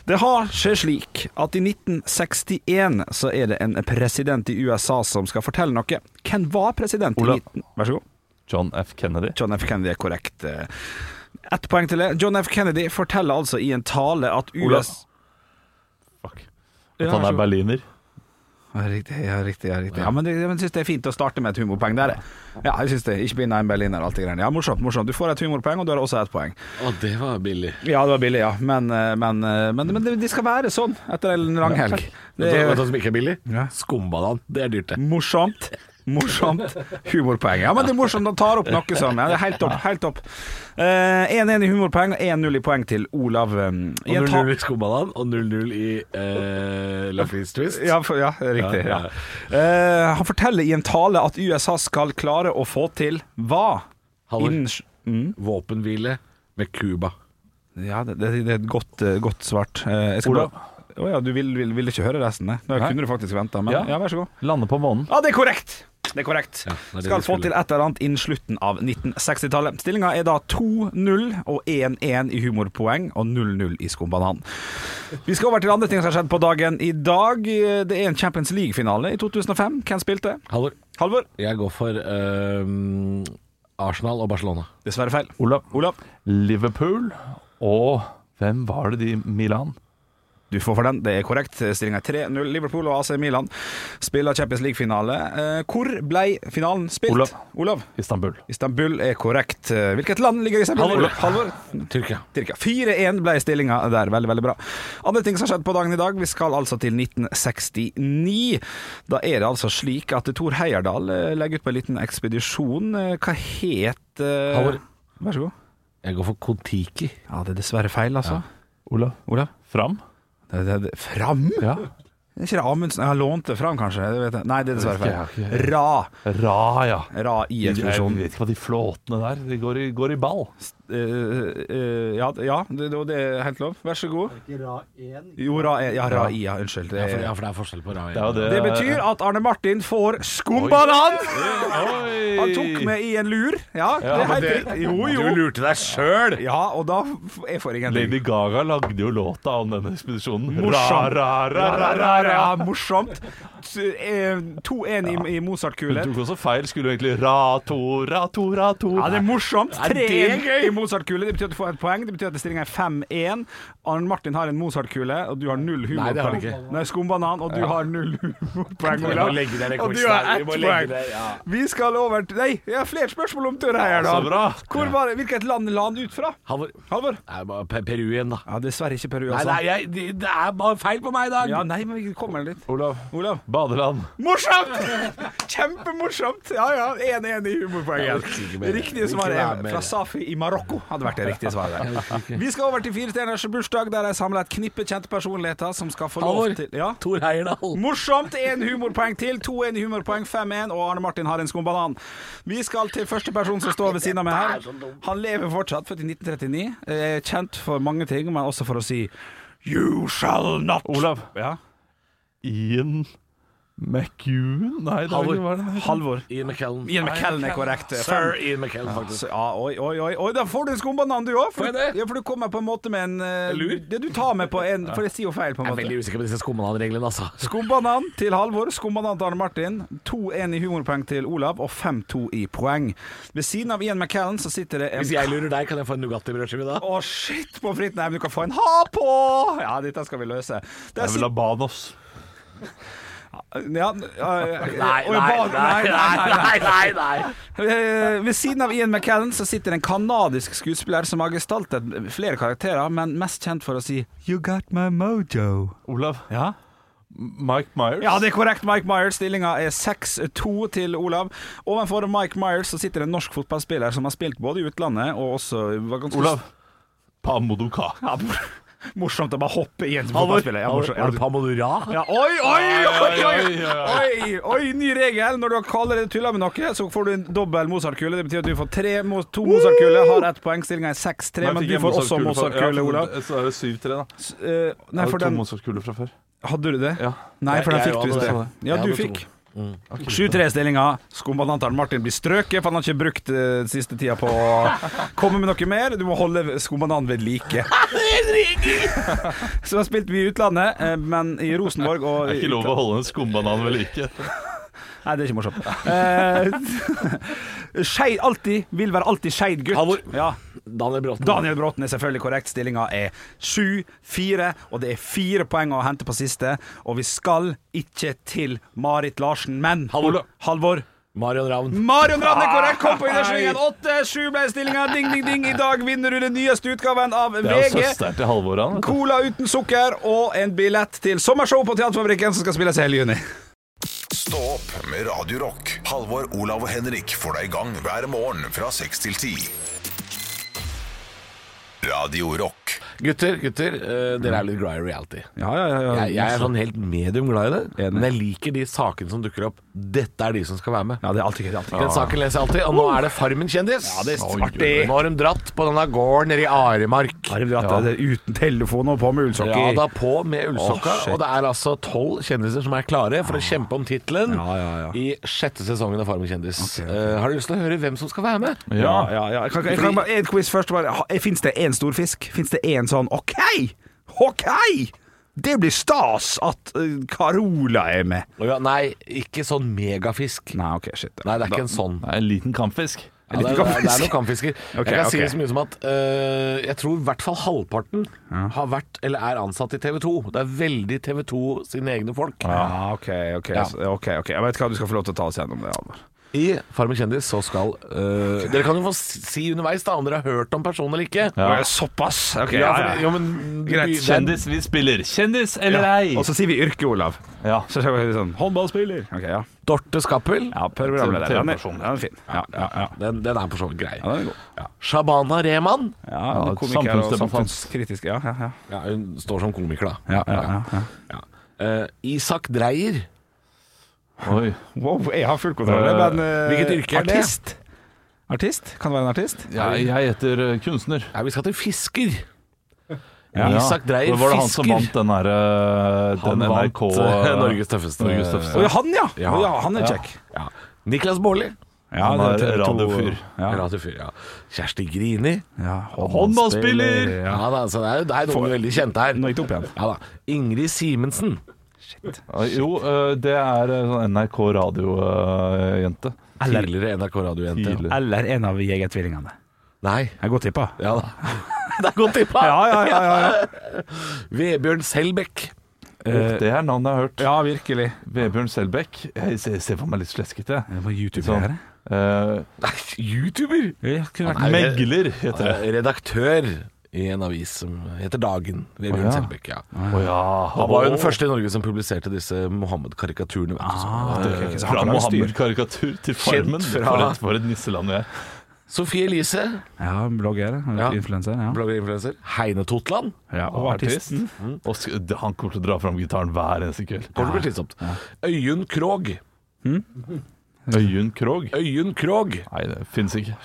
Speaker 3: Det har seg slik at i 1961 så er det en president i USA som skal fortelle noe. Hvem var president i
Speaker 5: Olav.
Speaker 3: 19... Vær så god.
Speaker 5: John F. Kennedy.
Speaker 3: John F. Kennedy er korrekt. eh. Ett poeng til det. John F. Kennedy forteller altså i en tale at
Speaker 5: Olav.
Speaker 3: US...
Speaker 5: Fuck. At
Speaker 3: Ja,
Speaker 5: han
Speaker 3: vær så
Speaker 5: er
Speaker 3: god.
Speaker 5: berliner.
Speaker 3: Ja, Riktig, ja, riktig, ja, riktig. Ja, men det- jeg synes det er fint å starte med et humorpoeng der. jeg. Ja, jeg synes det. Ikke begynn en berliner, alt det greiene. Ja, morsomt, morsomt. Du får et humorpoeng, og du har også et poeng.
Speaker 4: Å, det var billig.
Speaker 3: Ja, det var billig, ja. Men, eh, men, eh, men, men det, det skal være sånn etter en lang helg.
Speaker 4: Vet
Speaker 3: Det
Speaker 4: du vet du
Speaker 3: er
Speaker 4: hva som ikke er billig?
Speaker 3: Ja.
Speaker 4: Skumbanan. Det er dyrt, det.
Speaker 3: morsomt, Morsomt humorpoeng. Ja, men det er morsomt. Han tar opp noe som ja, det er Helt topp. Helt topp. Eh, 1-1 i humorpoeng og 1-0 i poeng til Olav. eh, i en
Speaker 4: Og
Speaker 3: ta-
Speaker 4: 0-0 i Skomaland, og 0-0 i eh, Laffis Twist.
Speaker 3: Ja, for, ja riktig. Ja. Eh, han forteller i en tale at USA skal klare å få til hva?
Speaker 4: Haller.
Speaker 3: Innen sj- mm.
Speaker 4: Våpenhvile med Cuba.
Speaker 3: Ja, det, det, det er et godt, eh, godt svart. Eh, jeg skal
Speaker 5: Olav.
Speaker 3: bare- Å ja, du vil, vil, vil ikke høre resten? Nei. Da kunne du faktisk venta, men ja.
Speaker 5: Ja.
Speaker 3: vær så god.
Speaker 5: Lande på månen.
Speaker 3: Ja, det er korrekt! Det er korrekt.
Speaker 4: det er det
Speaker 3: skal
Speaker 4: vi
Speaker 3: få
Speaker 4: skulle.
Speaker 3: til et eller annet innen slutten av 1960-tallet. Stillinga er da 2-0 og 1-1 i humorpoeng og 0-0 i skumbanan. Vi skal over til andre ting som har skjedd på dagen i dag. Det er en Champions League-finale i 2005. Hvem spilte?
Speaker 4: Haller.
Speaker 3: Halvor?
Speaker 4: Jeg går for eh, Arsenal og Barcelona.
Speaker 3: Dessverre feil.
Speaker 5: Olav.
Speaker 3: Olav,
Speaker 5: Liverpool og Hvem var det de Milan?
Speaker 3: du får for den. Det er korrekt. Stillinga er 3-0. Liverpool og AC Milan spiller Champions League-finale. Eh, Hvor ble finalen spilt?
Speaker 5: Olav.
Speaker 3: Olav.
Speaker 5: Istanbul.
Speaker 3: Istanbul er korrekt. Eh, Hvilket land ligger Istanbul i?
Speaker 5: Halvor.
Speaker 3: Halvor.
Speaker 4: Tyrkia.
Speaker 3: Tyrkia. 4-1 ble stillinga der. Veldig, veldig bra. Andre ting som har skjedd på dagen i dag. Vi skal altså til 1969. Da er det altså slik at Tor Heyerdahl eh, legger ut på en liten ekspedisjon. Eh, Hva het eh,
Speaker 4: Halvor.
Speaker 3: Vær så god.
Speaker 4: Jeg går for Kon-Tiki.
Speaker 3: Ja, det er dessverre feil, altså.
Speaker 5: Olav.
Speaker 3: Olav?
Speaker 5: Fram.
Speaker 3: Det, det, det. Fram?
Speaker 5: Ja.
Speaker 3: Er ikke det Amundsen? Jeg har lånt det fram, kanskje. Det vet jeg. Nei, det er dessverre feil. Ra.
Speaker 5: Ra, ja.
Speaker 3: Ra i
Speaker 5: Jeg
Speaker 3: ekspedisjonen.
Speaker 5: vet ikke hva de flåtene der De går i, går i ball.
Speaker 3: Eh, eh, ja, ja det, det er helt lov. Vær så god. Jo, Ra 1. Ja, Ra i, ja. Unnskyld. Det,
Speaker 4: Ja,
Speaker 3: er-
Speaker 4: for, eh, ja, for det er forskjell på Rai.
Speaker 5: Det er jo det
Speaker 3: det betyr at Arne Martin får skumbanan! Han tok med i en lur. Ja, det er helt riktig. Jo,
Speaker 8: Du
Speaker 3: jo.
Speaker 8: lurte deg sjøl!
Speaker 3: Ja, og da f- Jeg får ingenting.
Speaker 5: Lady Gaga lagde jo låta om denne ekspedisjonen.
Speaker 3: Morsom.
Speaker 5: Ra, ra, ra, ra, ra, ra.
Speaker 3: Ja, morsomt. S- eh, 2-1 i, i Mozart-kule.
Speaker 5: Hun tok også feil. Skulle jo egentlig ra, to, ra, to, ra, to.
Speaker 3: Ja, det er morsomt.
Speaker 8: det er
Speaker 3: 3-1 i Mozart-kule. Det betyr at du får et poeng. Det betyr at stillinga er 5-1. Arne Martin har en Mozart-kule, og du har null humorpoeng.
Speaker 4: Nei, det har han ikke.
Speaker 3: Nei, skumbanan, og du har null humorpoeng.
Speaker 4: Vi må
Speaker 3: Olav.
Speaker 4: legge ned
Speaker 3: Og du
Speaker 4: quizen
Speaker 3: har
Speaker 4: her. Vi
Speaker 3: ett
Speaker 4: må legge
Speaker 3: poeng.
Speaker 4: ned- ja.
Speaker 3: Vi skal over til Nei, jeg har flere spørsmål om Tørre her,
Speaker 5: Så
Speaker 3: da.
Speaker 5: bra.
Speaker 3: Hvor var, hvilket land la han ut fra?
Speaker 4: Halvor.
Speaker 3: Halvor?
Speaker 4: Nei, bare Per- Peru igjen, da.
Speaker 3: Ja, dessverre ikke Peru,
Speaker 4: Nei,
Speaker 3: altså.
Speaker 4: nei jeg, det, det er bare feil på meg i dag.
Speaker 3: Ja, nei, men vi kommer litt.
Speaker 5: Olav.
Speaker 3: Olav.
Speaker 5: Badeland.
Speaker 3: Morsomt! Kjempemorsomt! Ja ja, 1-1 i humorpoenget. Riktige svar er fra Safi i Marokko, hadde vært det riktige svaret. Vi skal over til Fire stjerners bursdag, der de samler et knippe kjente personligheter som skal få lov
Speaker 4: Halvor.
Speaker 3: til Ja.
Speaker 4: Tor Heyerdahl.
Speaker 3: Morsomt! Én humorpoeng til. 2-1 i humorpoeng, 5-1, og Arne Martin har en skumbanan. Vi skal til første person som står ved siden av meg her. Han lever fortsatt, født i 1939. Er kjent for mange ting, men også for å si You shall not.
Speaker 5: Olav.
Speaker 3: Ja.
Speaker 5: Ian McEwan? Nei, det
Speaker 4: Halvor.
Speaker 5: var ikke hva det heter.
Speaker 3: Halvor.
Speaker 4: Ian McKellen.
Speaker 3: Ian McKellen er korrekt. eh,
Speaker 4: Sir Ian McKellen, faktisk.
Speaker 3: Så, ja, oi, oi, oi, oi, da får du en skumbanan du òg.
Speaker 4: Får jeg det?
Speaker 3: Ja, for du kommer på en måte med en eh,
Speaker 4: lur?
Speaker 3: Det du tar med på en For det sier jo feil, på en
Speaker 4: Jeg er
Speaker 3: måte.
Speaker 4: veldig usikker på disse skummananreglene, altså.
Speaker 3: Skumbanan til Halvor, skumbanan til Arne Martin. 2-1 i humorpoeng til Olav og 5-2 i poeng. Ved siden av Ian McKellen så sitter det en
Speaker 4: Hvis jeg lurer deg, kan jeg få en Nugatti-brødskive da?
Speaker 3: Å, shit på fritt! Nei, men du kan få en ha på! Ja, dette skal vi løse. Der
Speaker 5: Jeg vil ha Banos.
Speaker 3: sit- ja, øh,
Speaker 4: Nei,
Speaker 3: øh,
Speaker 4: nei,
Speaker 3: ba-
Speaker 4: nei, nei, nei, nei, nei.
Speaker 3: Eh, Ved siden av Ian McKellen så sitter en kanadisk skuespiller som har gestaltet flere karakterer, men mest kjent for å si You got my mojo.
Speaker 5: Olav.
Speaker 3: Ja,
Speaker 5: Mike Myers.
Speaker 3: ja det er korrekt, Mike Myers. Stillinga er 6-2 til Olav. Ovenfor Mike Myers så sitter en norsk fotballspiller som har spilt både i utlandet og også var ganske
Speaker 5: Olav. Pamodoka.
Speaker 3: Ja, morsomt å bare hoppe i en fotballspiller. Ja, morsomt.
Speaker 4: Var det Pamodora?
Speaker 3: Ja, oi, oi, oi, oi,
Speaker 5: Oi, oi, oi.
Speaker 3: oi, oi, ny regel. Når du har kaller det tulla med noe, så får du en dobbel Mozart-kule. Det betyr at du får tre, mo- to Mozart-kule, har ett poeng, stillinga er 6-3, men
Speaker 5: fikk
Speaker 3: du
Speaker 5: jeg
Speaker 3: får også
Speaker 5: Mozart-kule fra-
Speaker 3: Mozart-kule,
Speaker 5: Ja,
Speaker 3: Olav.
Speaker 5: Så er det 7-3, da. Jeg
Speaker 3: Eh, Nei,
Speaker 5: hadde
Speaker 3: for
Speaker 5: to
Speaker 3: den
Speaker 5: Mozart-kuler fra før.
Speaker 3: Hadde du det?
Speaker 5: Ja.
Speaker 3: Nei, for den
Speaker 4: Jeg-
Speaker 3: fikk
Speaker 4: jeg
Speaker 3: du i
Speaker 4: hadde
Speaker 3: sted.
Speaker 4: to.
Speaker 3: Ja,
Speaker 4: Jeg
Speaker 3: du
Speaker 4: hadde to. Mm.
Speaker 3: fikk. 7-3-stillinga. Skombadantarn Martin blir strøket, for han har ikke brukt eh, siste tida på å komme med noe mer. Du må holde skombanan ved like. Så spilte vi i utlandet, eh, men i Rosenborg og
Speaker 5: Det er ikke lov å holde en skumbanan ved like.
Speaker 3: Nei, det er ikke morsomt. Eh, Skeid alltid vil være alltid skeid gutt.
Speaker 4: Halvor.
Speaker 3: Ja.
Speaker 4: Daniel Bråten.
Speaker 3: Daniel Bråten er selvfølgelig korrekt. Stillinga er 7-4, og det er fire poeng å hente på siste. Og vi skal ikke til Marit Larsen, men
Speaker 4: Halvor.
Speaker 3: Halvor.
Speaker 4: Marion Ravn.
Speaker 3: Marion Ravn er korrekt. Kom på innersvingen. 8-7 ble stillinga. Ding, ding, ding. I dag vinner du den nyeste utgaven av
Speaker 5: Det er altså jo
Speaker 3: VG.
Speaker 5: søsteren til Halvor, han. vet du.
Speaker 3: Cola uten sukker og en billett til sommershow på Teaterfabrikken som skal spilles i hele juni.
Speaker 1: Stå opp med Radio Rock. Halvor, Olav og Henrik får deg i gang hver morgen fra 6 til 10. Radio Rock.
Speaker 4: Gutter, gutter, eh, dere er litt glad i reality.
Speaker 3: Ja, ja, ja, ja.
Speaker 4: Jeg, jeg er sånn helt medium glad i det,
Speaker 3: Enig.
Speaker 4: men jeg liker de sakene som dukker opp. Dette er de som skal være med.
Speaker 3: ja, det er alltid gøy. det er alltid gøy.
Speaker 4: Den saken leser jeg alltid, og nå er det Farmen kjendis. Ja,
Speaker 3: det er artig.
Speaker 4: Nå har de dratt på denne gården nede i Aremark.
Speaker 3: Har de dratt det uten telefon og på med ullsokker?
Speaker 4: Ja, da på med ullsokka.
Speaker 3: Åh, shit. Ah.
Speaker 4: og det er altså tolv kjendiser som er klare for å kjempe om tittelen
Speaker 3: Ja, ja, ja.
Speaker 4: i sjette sesongen av Farmen kjendis. Eh, har du lyst til å høre hvem som skal være med?
Speaker 3: Ja, ja, ja. Jeg kan, jeg kan bare, en quiz først. Bare, ha- eh, Finnes det én stor fisk? Finnes det én sånn OK! OK! Det blir stas at eh, Carola er med.
Speaker 4: Å ja, nei, ikke sånn megafisk.
Speaker 3: Nei, OK, shit.
Speaker 4: Nei, det er ikke en sånn.
Speaker 5: Det er en liten kampfisk.
Speaker 4: Ja, det, er, det er- det er noen kampfisker.
Speaker 3: Ok,
Speaker 4: jeg kan si
Speaker 3: ok.
Speaker 4: det så mye som at øh, jeg tror i hvert fall halvparten har vært eller er ansatt i TV 2. Det er veldig TV 2 sine egne folk.
Speaker 3: Ja, OK, ok.
Speaker 4: Ja.
Speaker 3: så- ok, ok. Jeg vet hva, du skal få lov til å ta oss gjennom det, Alvar.
Speaker 4: I Farmen kjendis så skal øh, Dere kan jo få si underveis da om dere har hørt om personen eller ikke.
Speaker 3: Å, ja, Såpass? Ok,
Speaker 4: Ja,
Speaker 3: ja,
Speaker 4: for,
Speaker 3: ja.
Speaker 4: Jo, men,
Speaker 3: Greit.
Speaker 4: det-
Speaker 5: Kjendis vi spiller. Kjendis eller ei!
Speaker 3: Og så sier vi yrke, Olav.
Speaker 5: Ja.
Speaker 3: Så skal vi sånn Håndballspiller. Ok, ja.
Speaker 4: Dorte Skappel.
Speaker 3: ja programleder. Den er, den er fin. Ja, ja, ja.
Speaker 4: Den, den er for så vidt grei.
Speaker 3: ja den er god.
Speaker 4: Shabana Rehman.
Speaker 3: Ja,
Speaker 5: Ja,
Speaker 3: komiker og
Speaker 5: samfunnsdebattant.
Speaker 3: samfunnskritisk. Ja, ja, ja.
Speaker 4: Ja, hun står som komiker, da.
Speaker 3: ja, ja, ja, ja.
Speaker 4: Ja. Eh, Isak Dreyer.
Speaker 5: Oi.
Speaker 3: Wow, jeg har full kontroll.
Speaker 5: Øh,
Speaker 3: men eh,
Speaker 4: hvilket yrke er det?
Speaker 3: artist? Artist? Kan det være en artist?
Speaker 5: Ja, jeg heter eh, kunstner.
Speaker 4: Nei, vi skal til fisker.
Speaker 5: Ja.
Speaker 4: Isak Dreyer
Speaker 5: Det var det han
Speaker 4: fisker.
Speaker 5: som vant den der eh,
Speaker 4: Han
Speaker 5: den NRK
Speaker 4: vant eh, Norges tøffeste.
Speaker 5: Norges tøffeste.
Speaker 3: Å, ja, han, ja.
Speaker 4: Ja.
Speaker 3: Å, ja! Han er kjekk.
Speaker 4: Ja. Niklas Baarli.
Speaker 3: Ja,
Speaker 5: Han
Speaker 3: det
Speaker 5: er
Speaker 3: TV to-
Speaker 5: radiofyr.
Speaker 3: Ja.
Speaker 4: Radio Fyr, ja. Kjersti Grini.
Speaker 3: Ja,
Speaker 5: Håndballspiller!
Speaker 4: Ja, da, så det er jo det er noen veldig kjente her.
Speaker 3: Nå gikk det opp igjen.
Speaker 4: Ja, da. Ingrid Simensen.
Speaker 5: Ja, Jo, eh, det er eh, sånn NRK eh, radio-jente.
Speaker 4: Tidligere NRK Radio-jente.
Speaker 5: Tidlig.
Speaker 3: Eller en av Jegertvillingene.
Speaker 4: Nei.
Speaker 3: Jeg går tippa.
Speaker 4: Ja da. det er godt tippa!
Speaker 3: Ja, ja, ja, ja, ja.
Speaker 4: Vebjørn Selbekk.
Speaker 5: Uff, Det er navnet jeg har hørt.
Speaker 3: ja, virkelig.
Speaker 5: Vebjørn Selbekk. Jeg ser, ser for meg litt sleskete. jeg.
Speaker 3: Det var
Speaker 5: Sånn.
Speaker 3: YouTube-ere.
Speaker 5: Eh,
Speaker 4: Nei, YouTuber! Nei,
Speaker 5: megler heter det.
Speaker 4: Redaktør i en avis som heter Dagen. Vebjørn
Speaker 5: Å, ja.
Speaker 4: Selbekk, ja.
Speaker 5: Å ja.
Speaker 4: Han var jo den første i Norge som publiserte disse Mohammed-karikaturene. vet du, som-
Speaker 3: Ah, Så han
Speaker 5: Fra
Speaker 3: kan ha styr.
Speaker 5: Mohammed-karikatur til Farmen.
Speaker 4: fra-
Speaker 5: For et, for et nisseland vi er.
Speaker 4: Sophie Elise,
Speaker 3: Ja, blogger.
Speaker 4: Ja.
Speaker 3: Influenser. Ja.
Speaker 4: bloggerinfluenser. Heine Totland.
Speaker 3: ja. Og artisten.
Speaker 5: Og sk- det- han kommer til å dra fram gitaren hver eneste kveld.
Speaker 4: Kommer til å bli slitsomt. Øyunn Krog.
Speaker 5: Øyunn Krogh?
Speaker 4: Øyunn Krog.
Speaker 5: Nei, det fins ikke.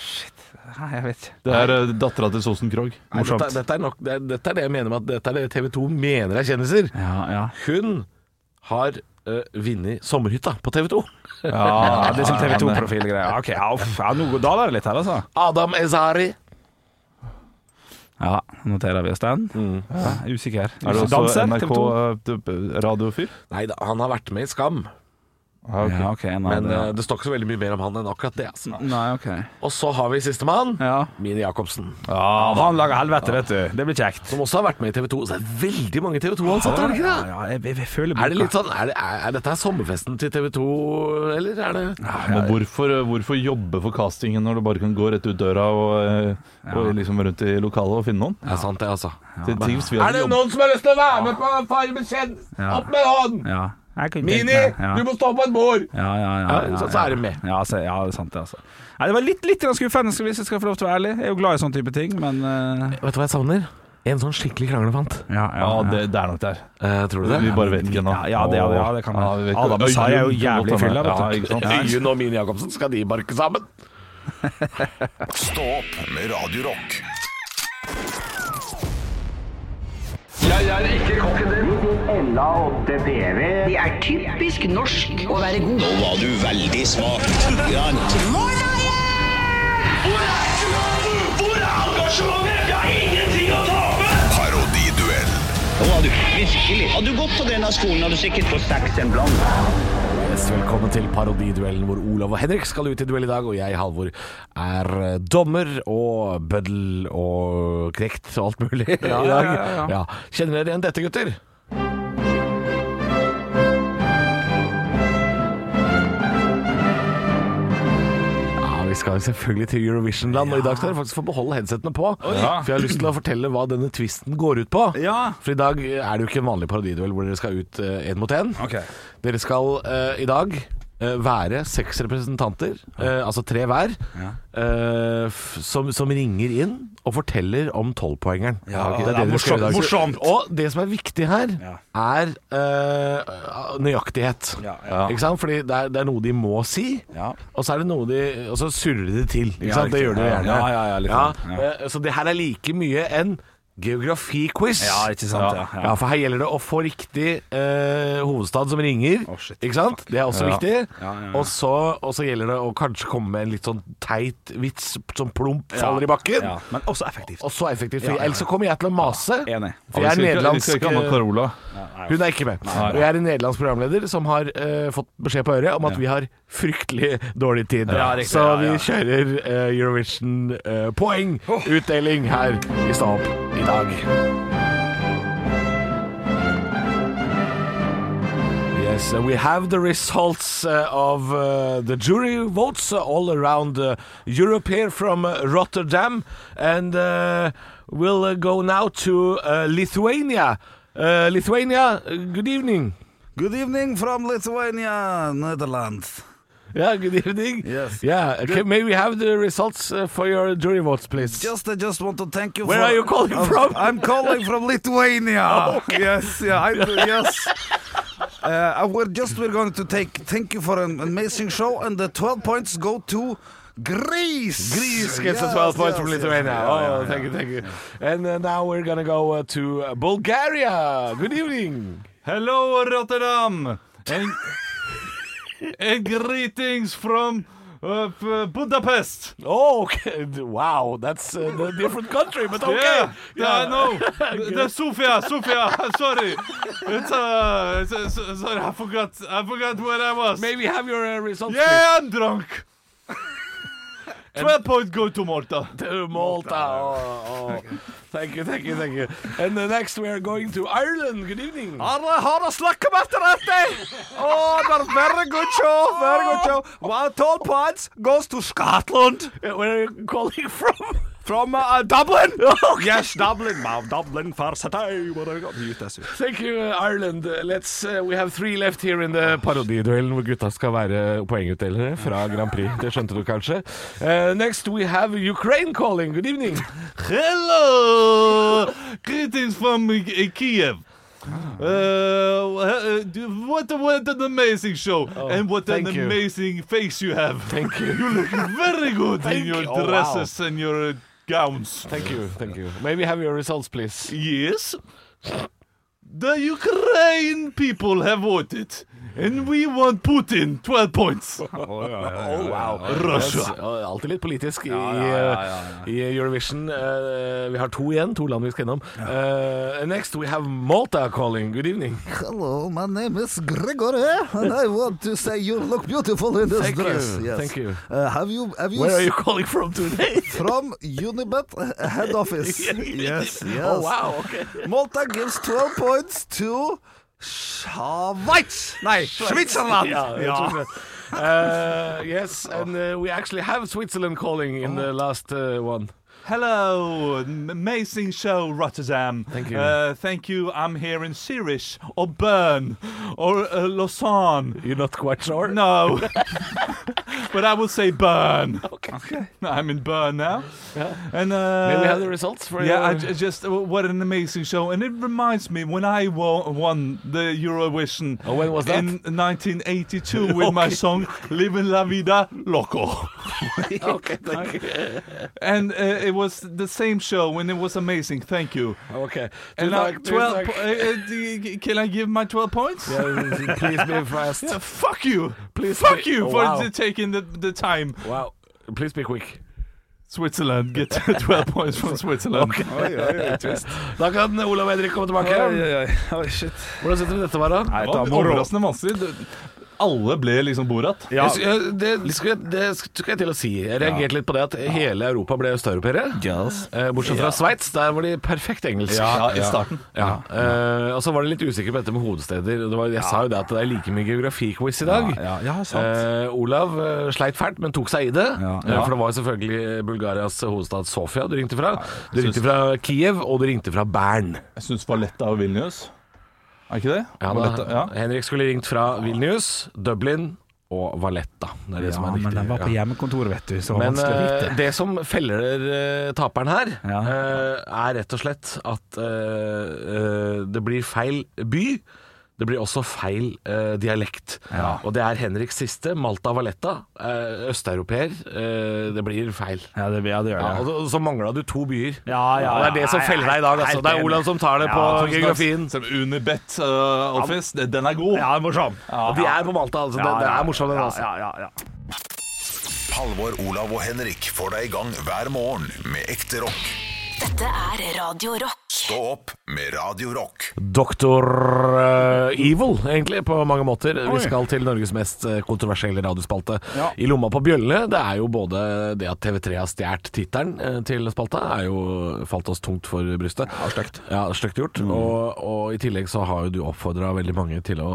Speaker 3: Nei, jeg vet ikke.
Speaker 5: Det er uh, dattera til Sosen Krogh.
Speaker 4: Nei, Dette, dette, er nok, det, er- dette er det jeg mener med at dette er det TV 2 mener er kjendiser.
Speaker 3: Ja, ja.
Speaker 4: Hun har uh, vunnet Sommerhytta på TV 2.
Speaker 5: Ja,
Speaker 3: Det er sånn TV 2-profilgreier. Ok, ja, uff, ja, nå daler det litt her, altså.
Speaker 4: Adam Ezari.
Speaker 3: Ja, noterer vi oss den. Ja, usikker.
Speaker 5: Er det også
Speaker 3: Danser,
Speaker 5: NRK
Speaker 3: TV2?
Speaker 5: eh, radiofyr?
Speaker 4: Nei, da, han har vært med i Skam,
Speaker 5: Ja, ok.
Speaker 3: Ja, ok. en av
Speaker 4: men
Speaker 3: det,
Speaker 4: eh, det står ikke så veldig mye mer om han enn akkurat det. Altså.
Speaker 3: ja. Nei, ok.
Speaker 4: Og så har vi sistemann.
Speaker 3: Ja.
Speaker 4: Mini Jacobsen,
Speaker 3: han lager helvete, vet du. Det blir kjekt.
Speaker 4: som også har vært med i TV 2. Så det er veldig mange TV 2-ansatte, er det ikke
Speaker 3: Ja,
Speaker 4: det?
Speaker 3: ja, jeg, jeg, jeg føler
Speaker 4: Er det litt sånn, er, det, er, er dette her sommerfesten til TV 2, eller er det
Speaker 5: Men hvorfor, eh, hvorfor jobbe for castingen når du bare kan gå rett ut døra og, eh, og liksom rundt i lokalet og finne noen?
Speaker 4: Det er sant, det, altså.
Speaker 5: Til tips vi hadde jobbet-
Speaker 4: noen som har lyst til å være med på Farmen kjendis?
Speaker 3: Ja.
Speaker 4: sånn, Opp med hånden!
Speaker 3: Ja. Jeg kunne tenkt
Speaker 4: Mini,
Speaker 3: meg- ja.
Speaker 4: du må stå på et bord!
Speaker 3: ja, ja, ja,
Speaker 4: Ja,
Speaker 3: ja, ja,
Speaker 4: så- så er det med.
Speaker 3: Ja, så, ja, det er sant det, altså. Nei, det var litt, litt grann skuffende, skal- hvis jeg skal få lov til å være ærlig. Jeg er jo glad i sånne type ting, men eh,
Speaker 4: Vet du hva jeg savner? En sånn skikkelig kranglefant.
Speaker 3: ja, ja,
Speaker 5: Ja,
Speaker 3: ja.
Speaker 5: det, det er nok der.
Speaker 4: Eh, tror du det?
Speaker 5: Vi bare vet ikke ennå.
Speaker 3: Ja, ja, det- ja, det- ja, det kan være.
Speaker 5: vi vet ikke.
Speaker 3: Adam Sar er jo
Speaker 5: Øyunn kan
Speaker 3: jævlig
Speaker 5: godt hende.
Speaker 3: fylla, vet du.
Speaker 5: Ja, ikke sant?
Speaker 4: Øyunn og Mini Jacobsen, skal de barke sammen?
Speaker 1: Stå opp med Radio Rock.
Speaker 7: Ella og DDV.
Speaker 9: Det er typisk norsk å være god.
Speaker 1: Parodiduell.
Speaker 4: Yes, velkommen til parodiduellen hvor Olav og Henrik skal ut i duell i dag, og jeg, Halvor, er eh, dommer og bøddel og knekt og alt mulig i dag.
Speaker 3: ja, ja, ja.
Speaker 4: Ja. Kjenner dere igjen dette, gutter? Ja, Vi skal jo selvfølgelig til Eurovision-land, og i dag skal dere faktisk få beholde headsetene på. For jeg har lyst til å fortelle hva denne twisten går ut på.
Speaker 3: Ja.
Speaker 4: For i dag er det jo ikke eh, en vanlig parodiduell hvor dere skal ut én mot én.
Speaker 3: Ok.
Speaker 4: Dere skal eh, i dag eh, være seks representanter, eh, altså tre hver, eh, f som, som ringer inn og forteller om tolvpoengeren.
Speaker 3: Ja,
Speaker 4: Det
Speaker 3: det
Speaker 4: er
Speaker 3: er
Speaker 4: dere skal gjøre i dag.
Speaker 3: morsomt, morsomt.
Speaker 4: Og det som er viktig her, er eh, nøyaktighet.
Speaker 3: Ja, ja.
Speaker 4: Ikke sant? Fordi det er, det er noe de må si,
Speaker 3: Ja.
Speaker 4: og så er det noe de Og så surrer de til. Ikke
Speaker 3: Ja,
Speaker 4: sant? Det
Speaker 3: riktig.
Speaker 4: gjør de
Speaker 3: Ja,
Speaker 4: gjerne.
Speaker 3: ja, ja, ja, litt sånn. Ja.
Speaker 4: eh, Så det her er like mye en geografiquiz.
Speaker 3: Ja, ikke sant, ja,
Speaker 4: ja.
Speaker 3: ja.
Speaker 4: for her gjelder det å få riktig eh, hovedstad som ringer.
Speaker 3: Å, shit.
Speaker 4: ikke sant? Det er også
Speaker 3: Ja.
Speaker 4: viktig.
Speaker 3: Ja, ja, ja.
Speaker 4: Og, så, og så gjelder det å kanskje komme med en litt sånn teit vits som plump faller i bakken.
Speaker 3: Ja, men også effektivt.
Speaker 4: Og så effektivt.
Speaker 3: Ja,
Speaker 4: for
Speaker 3: ja, ja.
Speaker 4: Ellers så kommer jeg til å mase.
Speaker 3: Enig.
Speaker 4: For jeg er
Speaker 5: vi, skal ikke, vi skal
Speaker 4: nederlandsk eh,
Speaker 5: ikke ha Macarola.
Speaker 4: Hun er ikke med. Og jeg er en nederlandsk programleder som har eh, fått beskjed på øret om at vi har fryktelig dårlig tid.
Speaker 3: Ja, riktig, ja,
Speaker 4: så
Speaker 3: ja.
Speaker 4: vi kjører eh, Eurovision-poengutdeling her i Stå opp i dag. Yes, uh, we have the results uh, of uh, the jury votes uh, all around uh, Europe here from uh, Rotterdam, and uh, we'll uh, go now to uh, Lithuania. Uh, Lithuania, uh, good evening.
Speaker 6: Good evening from Lithuania, Nederland.
Speaker 4: Yeah, good evening.
Speaker 6: Yes.
Speaker 4: Yeah, okay, may we have the results uh, for your jury votes, please?
Speaker 6: Just, I just want to thank you
Speaker 4: Where
Speaker 6: for...
Speaker 4: are you calling Oh,
Speaker 6: I'm-
Speaker 4: from?
Speaker 6: I'm calling from Lithuania. Yes, yeah, I, yes. Uh, I- we're just we're going to take thank you for an amazing show, and the 12 points go to Greece.
Speaker 4: Greece gets the
Speaker 6: Yes,
Speaker 4: 12 points
Speaker 6: yes,
Speaker 4: from
Speaker 6: yes.
Speaker 4: Lithuania.
Speaker 6: Yeah,
Speaker 4: oh,
Speaker 6: yeah,
Speaker 4: thank you, thank you. And uh, now we're gonna go uh, to uh, Bulgaria. Good evening.
Speaker 5: Hello, Rotterdam! And, and greetings from uh, P- Budapest!
Speaker 4: Oh, okay. wow, that's uh, a different country, but okay.
Speaker 5: Yeah, yeah, I know. The Sofia, Sofia. Sorry, it's uh, it's, it's, sorry, I forgot, I forgot where I was.
Speaker 4: Maybe have your uh, results.
Speaker 5: Yeah, I'm drunk. Twelve points go to Malta.
Speaker 4: please. To Malta. Oh, oh. Thank you, thank you, thank you. And the next we are going to Ireland. Good evening.
Speaker 6: Alle har å snakke med etter dette! Oh, that's very good show, very good show. Well, 12 points goes to Scotland.
Speaker 4: Uh, Where are you calling from?
Speaker 6: From uh, Dublin. Yes, Dublin. Wow, Dublin for Saturday. What have we got? Mute this.
Speaker 4: Thank you, uh, Ireland. Uh, Let's, uh, we have three left here in the parodiduellen hvor gutta skal være poengutdelere fra Grand Prix. Det skjønte du kanskje. Uh, next we have Ukraine calling. Good evening.
Speaker 5: Hello, greetings from uh, Kiev.
Speaker 4: Ah.
Speaker 5: Uh, uh, d- what a- what an amazing show, and what an
Speaker 4: Oh, thank you.
Speaker 5: amazing face you have.
Speaker 4: Thank you.
Speaker 5: Very good in
Speaker 4: Thank
Speaker 5: your
Speaker 4: you. Oh, wow.
Speaker 5: dresses and your uh, gowns.
Speaker 4: Thank you, thank you. May we have your results, please?
Speaker 5: Yes. The Ukraine people have voted. And we want Putin 12 points.
Speaker 4: Oh, wow.
Speaker 5: Russia.
Speaker 4: Ja, Alltid litt politisk i, i Eurovision. Eh, vi har to igjen, to land vi skal innom. Eh, next we have Malta calling. Good evening.
Speaker 6: Hello, my name is Gregory, and I want to say you look beautiful in this
Speaker 4: Thank you,
Speaker 6: dress. Yes.
Speaker 4: thank you.
Speaker 6: Uh, have you have you,
Speaker 4: Where are you
Speaker 6: s-
Speaker 4: calling from today?
Speaker 6: from Unibet uh, head office? yes, yes.
Speaker 4: Oh, wow. Okay.
Speaker 6: Malta gives 12 points to Schweiz. Nei, Schwitzerland.
Speaker 4: Yeah, yeah. Uh, yes, and uh, we actually have Switzerland calling in
Speaker 5: Oh.
Speaker 4: the last uh, one.
Speaker 5: Hello, an amazing show, Rotterdam. Thank
Speaker 4: you.
Speaker 5: Uh, thank you. I'm here in Zurich or Bern or uh, Lausanne.
Speaker 4: You're not quite sure?
Speaker 5: No. but I will say Bern. Okay. I'm in Bern now. And uh,
Speaker 4: May we have the results for
Speaker 5: yeah, I
Speaker 4: your-
Speaker 5: ju- just uh, what an amazing show, and it reminds me when I wo- won the Eurovision.
Speaker 4: Oh, when was that?
Speaker 5: In 1982, with my song "Living La Vida Loco,"
Speaker 4: okay, thank you.
Speaker 5: and uh, it was the same show, and it was amazing. Thank you.
Speaker 4: Okay.
Speaker 5: And now
Speaker 4: Tusen takk, tusen
Speaker 5: 12.
Speaker 4: takk.
Speaker 5: Po- uh, uh, d- g- can I give my 12 points?
Speaker 4: Yeah, please be fast.
Speaker 5: Yeah, fuck you!
Speaker 4: Please
Speaker 5: fuck
Speaker 4: be-
Speaker 5: you
Speaker 4: Oh,
Speaker 5: for
Speaker 4: wow.
Speaker 5: t- taking the, the time.
Speaker 4: Wow. Please be quick.
Speaker 5: Switzerland get 12 points from Switzerland.
Speaker 4: Da kan Olav Henrik komme tilbake. Hvordan syns dere dette var, da?
Speaker 5: Det var overraskende vanskelig. Det- Alle ble liksom Borat.
Speaker 4: Jeg sy- jeg- det, skulle jeg, det skal jeg til å si. Jeg reagerte litt på det at hele Europa ble østeuropeere. Eh, Bortsett fra Sveits, der var de perfekt engelsk.
Speaker 5: Ja, i starten.
Speaker 4: Ja, eh, og så var de litt usikre på dette med hovedsteder. Det var, jeg sa jo det at det er like mye geografiquiz i dag.
Speaker 3: Ja, ja, sant.
Speaker 4: Eh, Olav eh, sleit fælt, men tok seg i det.
Speaker 3: Ja.
Speaker 4: Eh, For det var jo selvfølgelig Bulgarias hovedstad Sofia du ringte fra. Du ringte fra Kiev, og du ringte fra Bern.
Speaker 5: Jeg syns Valletta og Vilnius. Er ikke det?
Speaker 4: Ja,
Speaker 5: Valletta,
Speaker 4: da, Henrik skulle ringt fra Vilnius, Dublin og Valletta. Det er det
Speaker 3: Ja,
Speaker 4: som er riktig.
Speaker 3: men den var på
Speaker 4: ja.
Speaker 3: hjemmekontoret, vet du, så
Speaker 4: Men
Speaker 3: vanskelig å
Speaker 4: eh,
Speaker 3: vite.
Speaker 4: det som feller eh, taperen her,
Speaker 3: Ja.
Speaker 4: eh, er rett og slett at eh, eh, det blir feil by. Det blir også feil eh, dialekt. Og det er Henriks siste, Malta Valletta. eh, Østeuropeer. eh, det blir feil.
Speaker 3: Ja, det, ja, det gjør
Speaker 4: Ja,
Speaker 3: det.
Speaker 4: og så- så mangla du to byer.
Speaker 3: Ja, ja,
Speaker 4: Og det er det som
Speaker 3: ja,
Speaker 4: feller deg i dag. Altså.
Speaker 3: helt
Speaker 4: Det er
Speaker 3: enig.
Speaker 4: Olav som tar det på
Speaker 5: Tusen takk.
Speaker 4: geografien.
Speaker 5: Selv om Unibet uh, Office, det- den er god.
Speaker 3: Ja, det er morsom.
Speaker 4: Og de er på Malta, altså. Det, det er morsomt, den. Altså.
Speaker 3: Ja, ja, ja.
Speaker 1: Halvor, Olav og Henrik får deg i gang hver morgen med ekte rock.
Speaker 2: Dette er Radio Rock.
Speaker 1: Stå opp med Radio Rock.
Speaker 4: Doktor eh, Evil, egentlig, på mange måter. Vi skal til Norges mest eh, kontroversielle radiospalte. I lomma på bjøllene, det er jo både det at TV3 har stjålet tittelen eh, til spalta, er jo falt oss tungt for brystet. Ja, Stygt Mm. ja, stygt gjort. Og, og i tillegg så har jo du oppfordra veldig mange til å,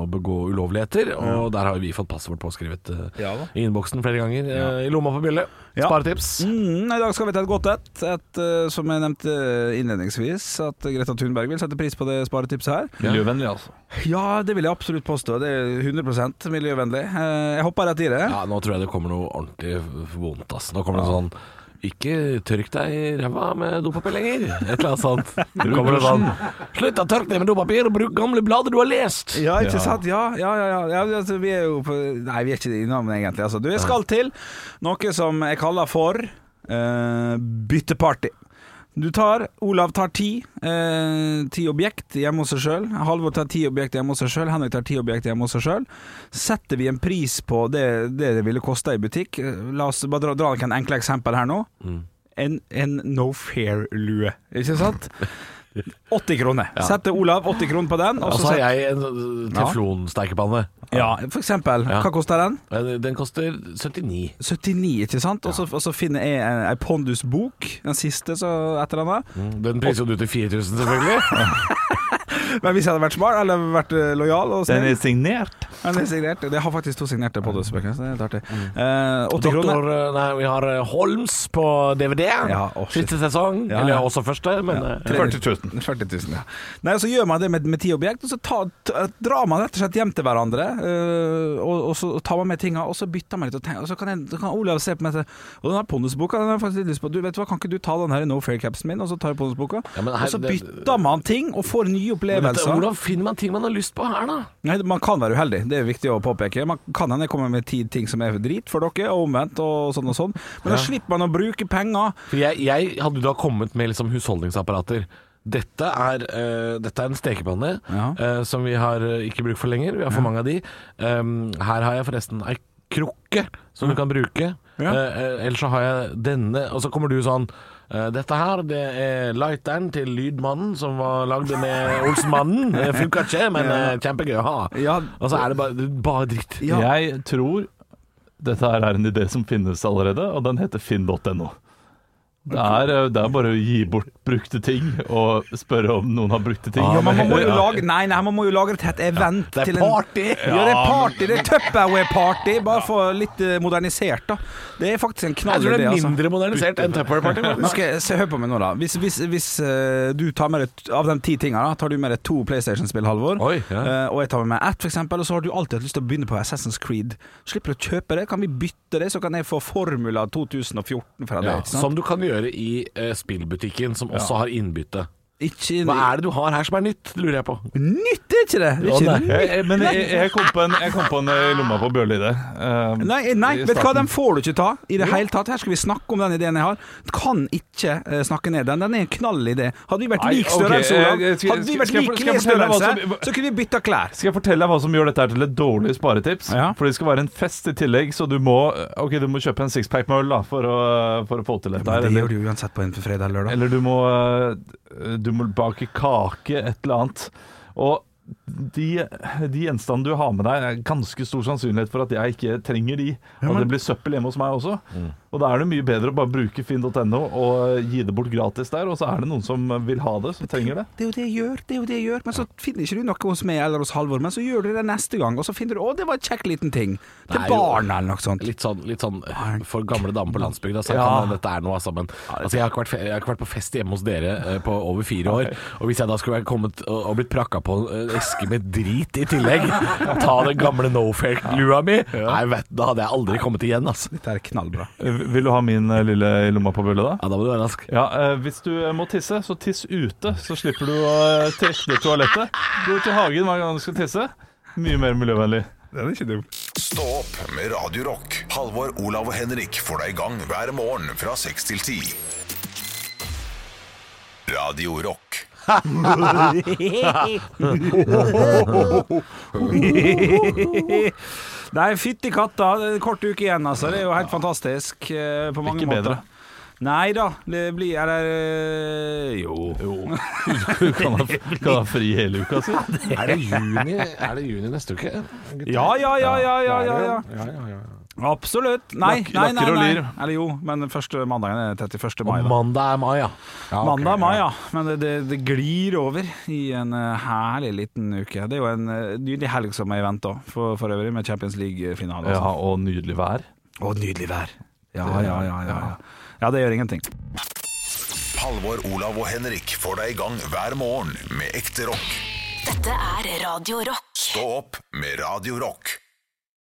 Speaker 4: å begå ulovligheter, og der har jo vi fått passord påskrevet eh, i innboksen flere ganger. eh, I lomma på bjølle.
Speaker 3: Ja.
Speaker 4: Sparetips.
Speaker 3: Mm, I dag skal vi til et godt et. et eh, som jeg nevnte eh, innledningsvis, at Greta Thunberg vil sette pris på det sparetipset her.
Speaker 5: Miljøvennlig, altså.
Speaker 3: Ja, det vil jeg absolutt påstå. Det er 100 miljøvennlig. Eh, Jeg hopper rett i det.
Speaker 4: Ja, nå tror jeg det kommer noe ordentlig vondt, ass. Nå kommer det sånn ikke tørk deg i ræva med dopapir lenger. Et eller annet sånt. Det kommer det sånn Slutt å tørke deg med dopapir og bruk gamle blader du har lest!
Speaker 3: Ja, ikke sant? Ja, ja, ja, ja. ja altså, Vi er jo på Nei, vi er ikke innom det egentlig. Altså. Du, jeg skal til noe som jeg kaller for eh, bytteparty. Du tar, Olav tar ti, eh, ti objekt hjemme hos seg sjøl. Halvor tar ti objekt hjemme hos seg sjøl. Henrik tar ti objekt hjemme hos seg sjøl. Setter vi en pris på det det, det ville kosta i butikk Eh, La oss bare dra, dra noen enkle eksempel her nå. En, en no fair-lue, ikke sant? 80 kroner. Setter Olav 80 kroner på den.
Speaker 4: Og
Speaker 3: så
Speaker 4: så har
Speaker 3: setter-
Speaker 4: jeg en øh, teflonsteikepanne.
Speaker 3: ja, for eksempel.
Speaker 4: Ja.
Speaker 3: Hva koster den?
Speaker 4: Eh, Den koster 79.
Speaker 3: 79, ikke sant? Og så- Og så finner jeg en, en Pondus-bok, den siste så etter denne.
Speaker 4: Den priser jo du til 4000, selvfølgelig.
Speaker 3: Men hvis jeg hadde vært smart, eller vært eh, lojal og
Speaker 5: Den
Speaker 3: snill
Speaker 5: er signert.
Speaker 3: Men det er signert. Det har faktisk to signerte Pondus-bøker, så det er litt artig. Eh, 80 kroner.
Speaker 4: Doktor eh, Nei, vi har eh, Holms på DVD.
Speaker 3: Ja, å, shit.
Speaker 4: Siste sesong.
Speaker 3: Ja,
Speaker 4: Eller
Speaker 3: ja.
Speaker 4: også første, men eh,
Speaker 5: 40 000.
Speaker 3: 40 000, ja. Nei, så gjør man det med, med ti objekt, og så ta, ta, drar man rett og slett hjem til hverandre. eh, og, og så tar man med tinga, og så bytter man litt. Og, tenker, og så kan, jeg, så kan Olav se på meg og si Og den her pondusboka den har jeg faktisk litt lyst på. Du, vet du hva, kan ikke du ta den her No Fair Capsen min, og så tar jeg pondusboka?
Speaker 4: Ja, men her-
Speaker 3: og så
Speaker 4: det-
Speaker 3: bytter man ting, og får nye
Speaker 4: men dette-
Speaker 3: opplevelser.
Speaker 4: Hvordan finner man ting man har lyst på her, da?
Speaker 3: Nei, man kan være uheldig, det er viktig å påpeke. Man kan hende komme med ti ting som er drit for dere, og omvendt, og sånn og sånn. Men da slipper man å bruke penger.
Speaker 4: For jeg, jeg hadde jo da kommet med liksom husholdningsapparater. Dette er, eh, dette er en stekepanne
Speaker 3: Ja.
Speaker 4: eh, som vi har eh, ikke bruk for lenger. Vi har for mange av de. Um, her har jeg forresten ei krukke som du kan bruke.
Speaker 3: Ja.
Speaker 4: Eh, eh, ellers så har jeg denne, og så kommer du sånn eh, dette her det er lighteren til Lydmannen, som var lagd med Olsenmannen. Det funka ikke, men eh, kjempegøy å ha.
Speaker 3: Ja.
Speaker 4: Og så er det bare, bare dritt.
Speaker 3: Ja.
Speaker 5: Jeg tror dette her er en idé som finnes allerede, og den heter finn.no. Det er, eh, det er bare å gi bort brukte ting og spørre om noen har brukte ting.
Speaker 3: Ja, man må jo
Speaker 5: Ja.
Speaker 3: lage Nei, nei, man må jo lage et hett event.
Speaker 4: Det
Speaker 3: til
Speaker 4: er
Speaker 3: en-
Speaker 4: party!
Speaker 3: Ja, det er party. Det er Tupperware-party, bare for litt eh, modernisert, da. Det er faktisk en
Speaker 4: Jeg
Speaker 3: knall
Speaker 4: tror det
Speaker 3: idé,
Speaker 4: er
Speaker 3: altså.
Speaker 4: mindre modernisert enn Tupperware Party. faktisk.
Speaker 3: Men skal jeg, se, hør på meg nå, da. Hvis, hvis, hvis eh, du tar med deg av de ti tinga, da, tar du med deg to PlayStation-spill, Halvor.
Speaker 4: Oi, ja.
Speaker 3: Eh, og jeg tar med meg ett, for eksempel og så har du alltid hatt lyst til å begynne på Assassin's Creed. Slipper du å kjøpe det, kan vi bytte det, så kan jeg få Formula 2014 fra deg.
Speaker 4: Ja,
Speaker 3: ikke sant?
Speaker 4: som du kan gjøre i eh, spillbutikken, som også har innbytte.
Speaker 3: Ikke,
Speaker 4: Hva er det du har her som er nytt, lurer jeg på.
Speaker 3: Nytt, det er ikke det! det
Speaker 4: Å,
Speaker 3: er ikke
Speaker 4: nei. Eh,
Speaker 5: Jeg, jeg- Eh, men jeg, jeg kom på en, jeg kom på en eh, lomma på bjølle-idé. Um,
Speaker 3: Nei, eh, nei
Speaker 5: i
Speaker 3: vet du hva, den
Speaker 5: starten.
Speaker 3: får du ikke ta i det hele tatt. Her skal vi snakke om den ideen jeg har. Kan ikke eh, snakke ned den. Den er en knall idé. Hadde vi vært
Speaker 5: Nei,
Speaker 3: lik
Speaker 5: ok,
Speaker 3: størrelse,
Speaker 5: eh,
Speaker 3: Olav,
Speaker 5: jeg- skal-
Speaker 3: hadde vi vært
Speaker 5: skal jeg-
Speaker 3: lik
Speaker 5: skal jeg fortelle hva
Speaker 3: klesstørrelse,
Speaker 5: som-
Speaker 3: så kunne vi bytta klær.
Speaker 5: Skal jeg fortelle deg hva som gjør dette her til et dårlig sparetips?
Speaker 3: Ja.
Speaker 5: For det skal være en fest i tillegg, så du må, ok, du må kjøpe en sixpack med øl da, for, å, for å få til dette. her,
Speaker 3: det
Speaker 5: eller-
Speaker 3: gjør du uansett på en fredag eller lørdag.
Speaker 5: Eller du må, eh, du må bake kake, et eller annet. Og de, de gjenstandene du har med deg, er ganske stor sannsynlighet for at jeg ikke trenger de. Og det blir søppel hjemme hos meg også. Og da er det mye bedre å bare bruke finn.no og gi det bort gratis der. Og så er det noen som vil ha det, som trenger det.
Speaker 3: Det er jo det jeg gjør, det er jo det jeg gjør. Men så finner ikke du noe hos meg eller hos Halvor, men så gjør du det neste gang, og så finner du 'Å, det var en kjekk liten ting'. Til
Speaker 4: Nei, jo.
Speaker 3: barna eller noe sånt.
Speaker 4: Litt sånn, litt sånn eh, for gamle damer på landsbygda. Så
Speaker 5: Ja.
Speaker 4: kan man- dette er noe, altså, men altså, jeg, har ikke vært, fe- jeg har ikke vært på fest hjemme hos dere eh, på over fire år. Og hvis jeg da skulle vært kommet og, og blitt prakka på eh, eske med drit i tillegg. Ta den gamle Nofair-lua mi. Nei, vet, du, da hadde jeg aldri kommet igjen, altså.
Speaker 3: Dette er knallbra.
Speaker 5: Vil du ha min eh, lille i lomma på bølle, da?
Speaker 4: Ja, da må du være rask.
Speaker 5: Ja, eh, Hvis du eh, må tisse, så tiss ute. Så slipper du å eh, trekke ned toalettet. Gå ut i hagen hver gang du skal tisse. Mye mer miljøvennlig.
Speaker 3: Den er ikke dum.
Speaker 1: Stå opp med Radio Rock. Halvor, Olav og Henrik får deg i gang hver morgen fra 6 til 10. Radio Rock.
Speaker 3: Nei, fytti katta. det er en Kort uke igjen, altså. Det er jo helt fantastisk eh, på mange
Speaker 5: Ikke
Speaker 3: måter.
Speaker 5: bedre.
Speaker 3: Nei da, det blir Eller eh, jo.
Speaker 5: Du kan ha, kan ha fri hele uka, si.
Speaker 4: Er det juni, er det juni neste uke?
Speaker 3: Ja, ja, ja, ja, ja, ja, ja.
Speaker 4: ja, ja, ja.
Speaker 3: Absolutt. Nei,
Speaker 5: Lakk-
Speaker 3: nei, nei,
Speaker 5: lakker og
Speaker 3: nei.
Speaker 5: lir.
Speaker 3: Eller jo, men den første mandagen er 31. mai.
Speaker 4: Og
Speaker 3: Da.
Speaker 4: mandag er mai, ja. ja ok.
Speaker 3: Mandag mai, ja. Men det, det, det glir over i en eh, herlig liten uke. Det er jo en eh, nydelig helg som er i vente òg, for, for øvrig, med Champions League-finale.
Speaker 5: Ja,
Speaker 3: og sånt.
Speaker 5: og nydelig vær.
Speaker 3: Og nydelig vær. Ja, ja, ja, ja, ja. Ja, det gjør ingenting.
Speaker 1: Halvor, Olav og Henrik får deg i gang hver morgen med ekte rock.
Speaker 2: Dette er Radio Rock.
Speaker 1: Stå opp med Radio Rock.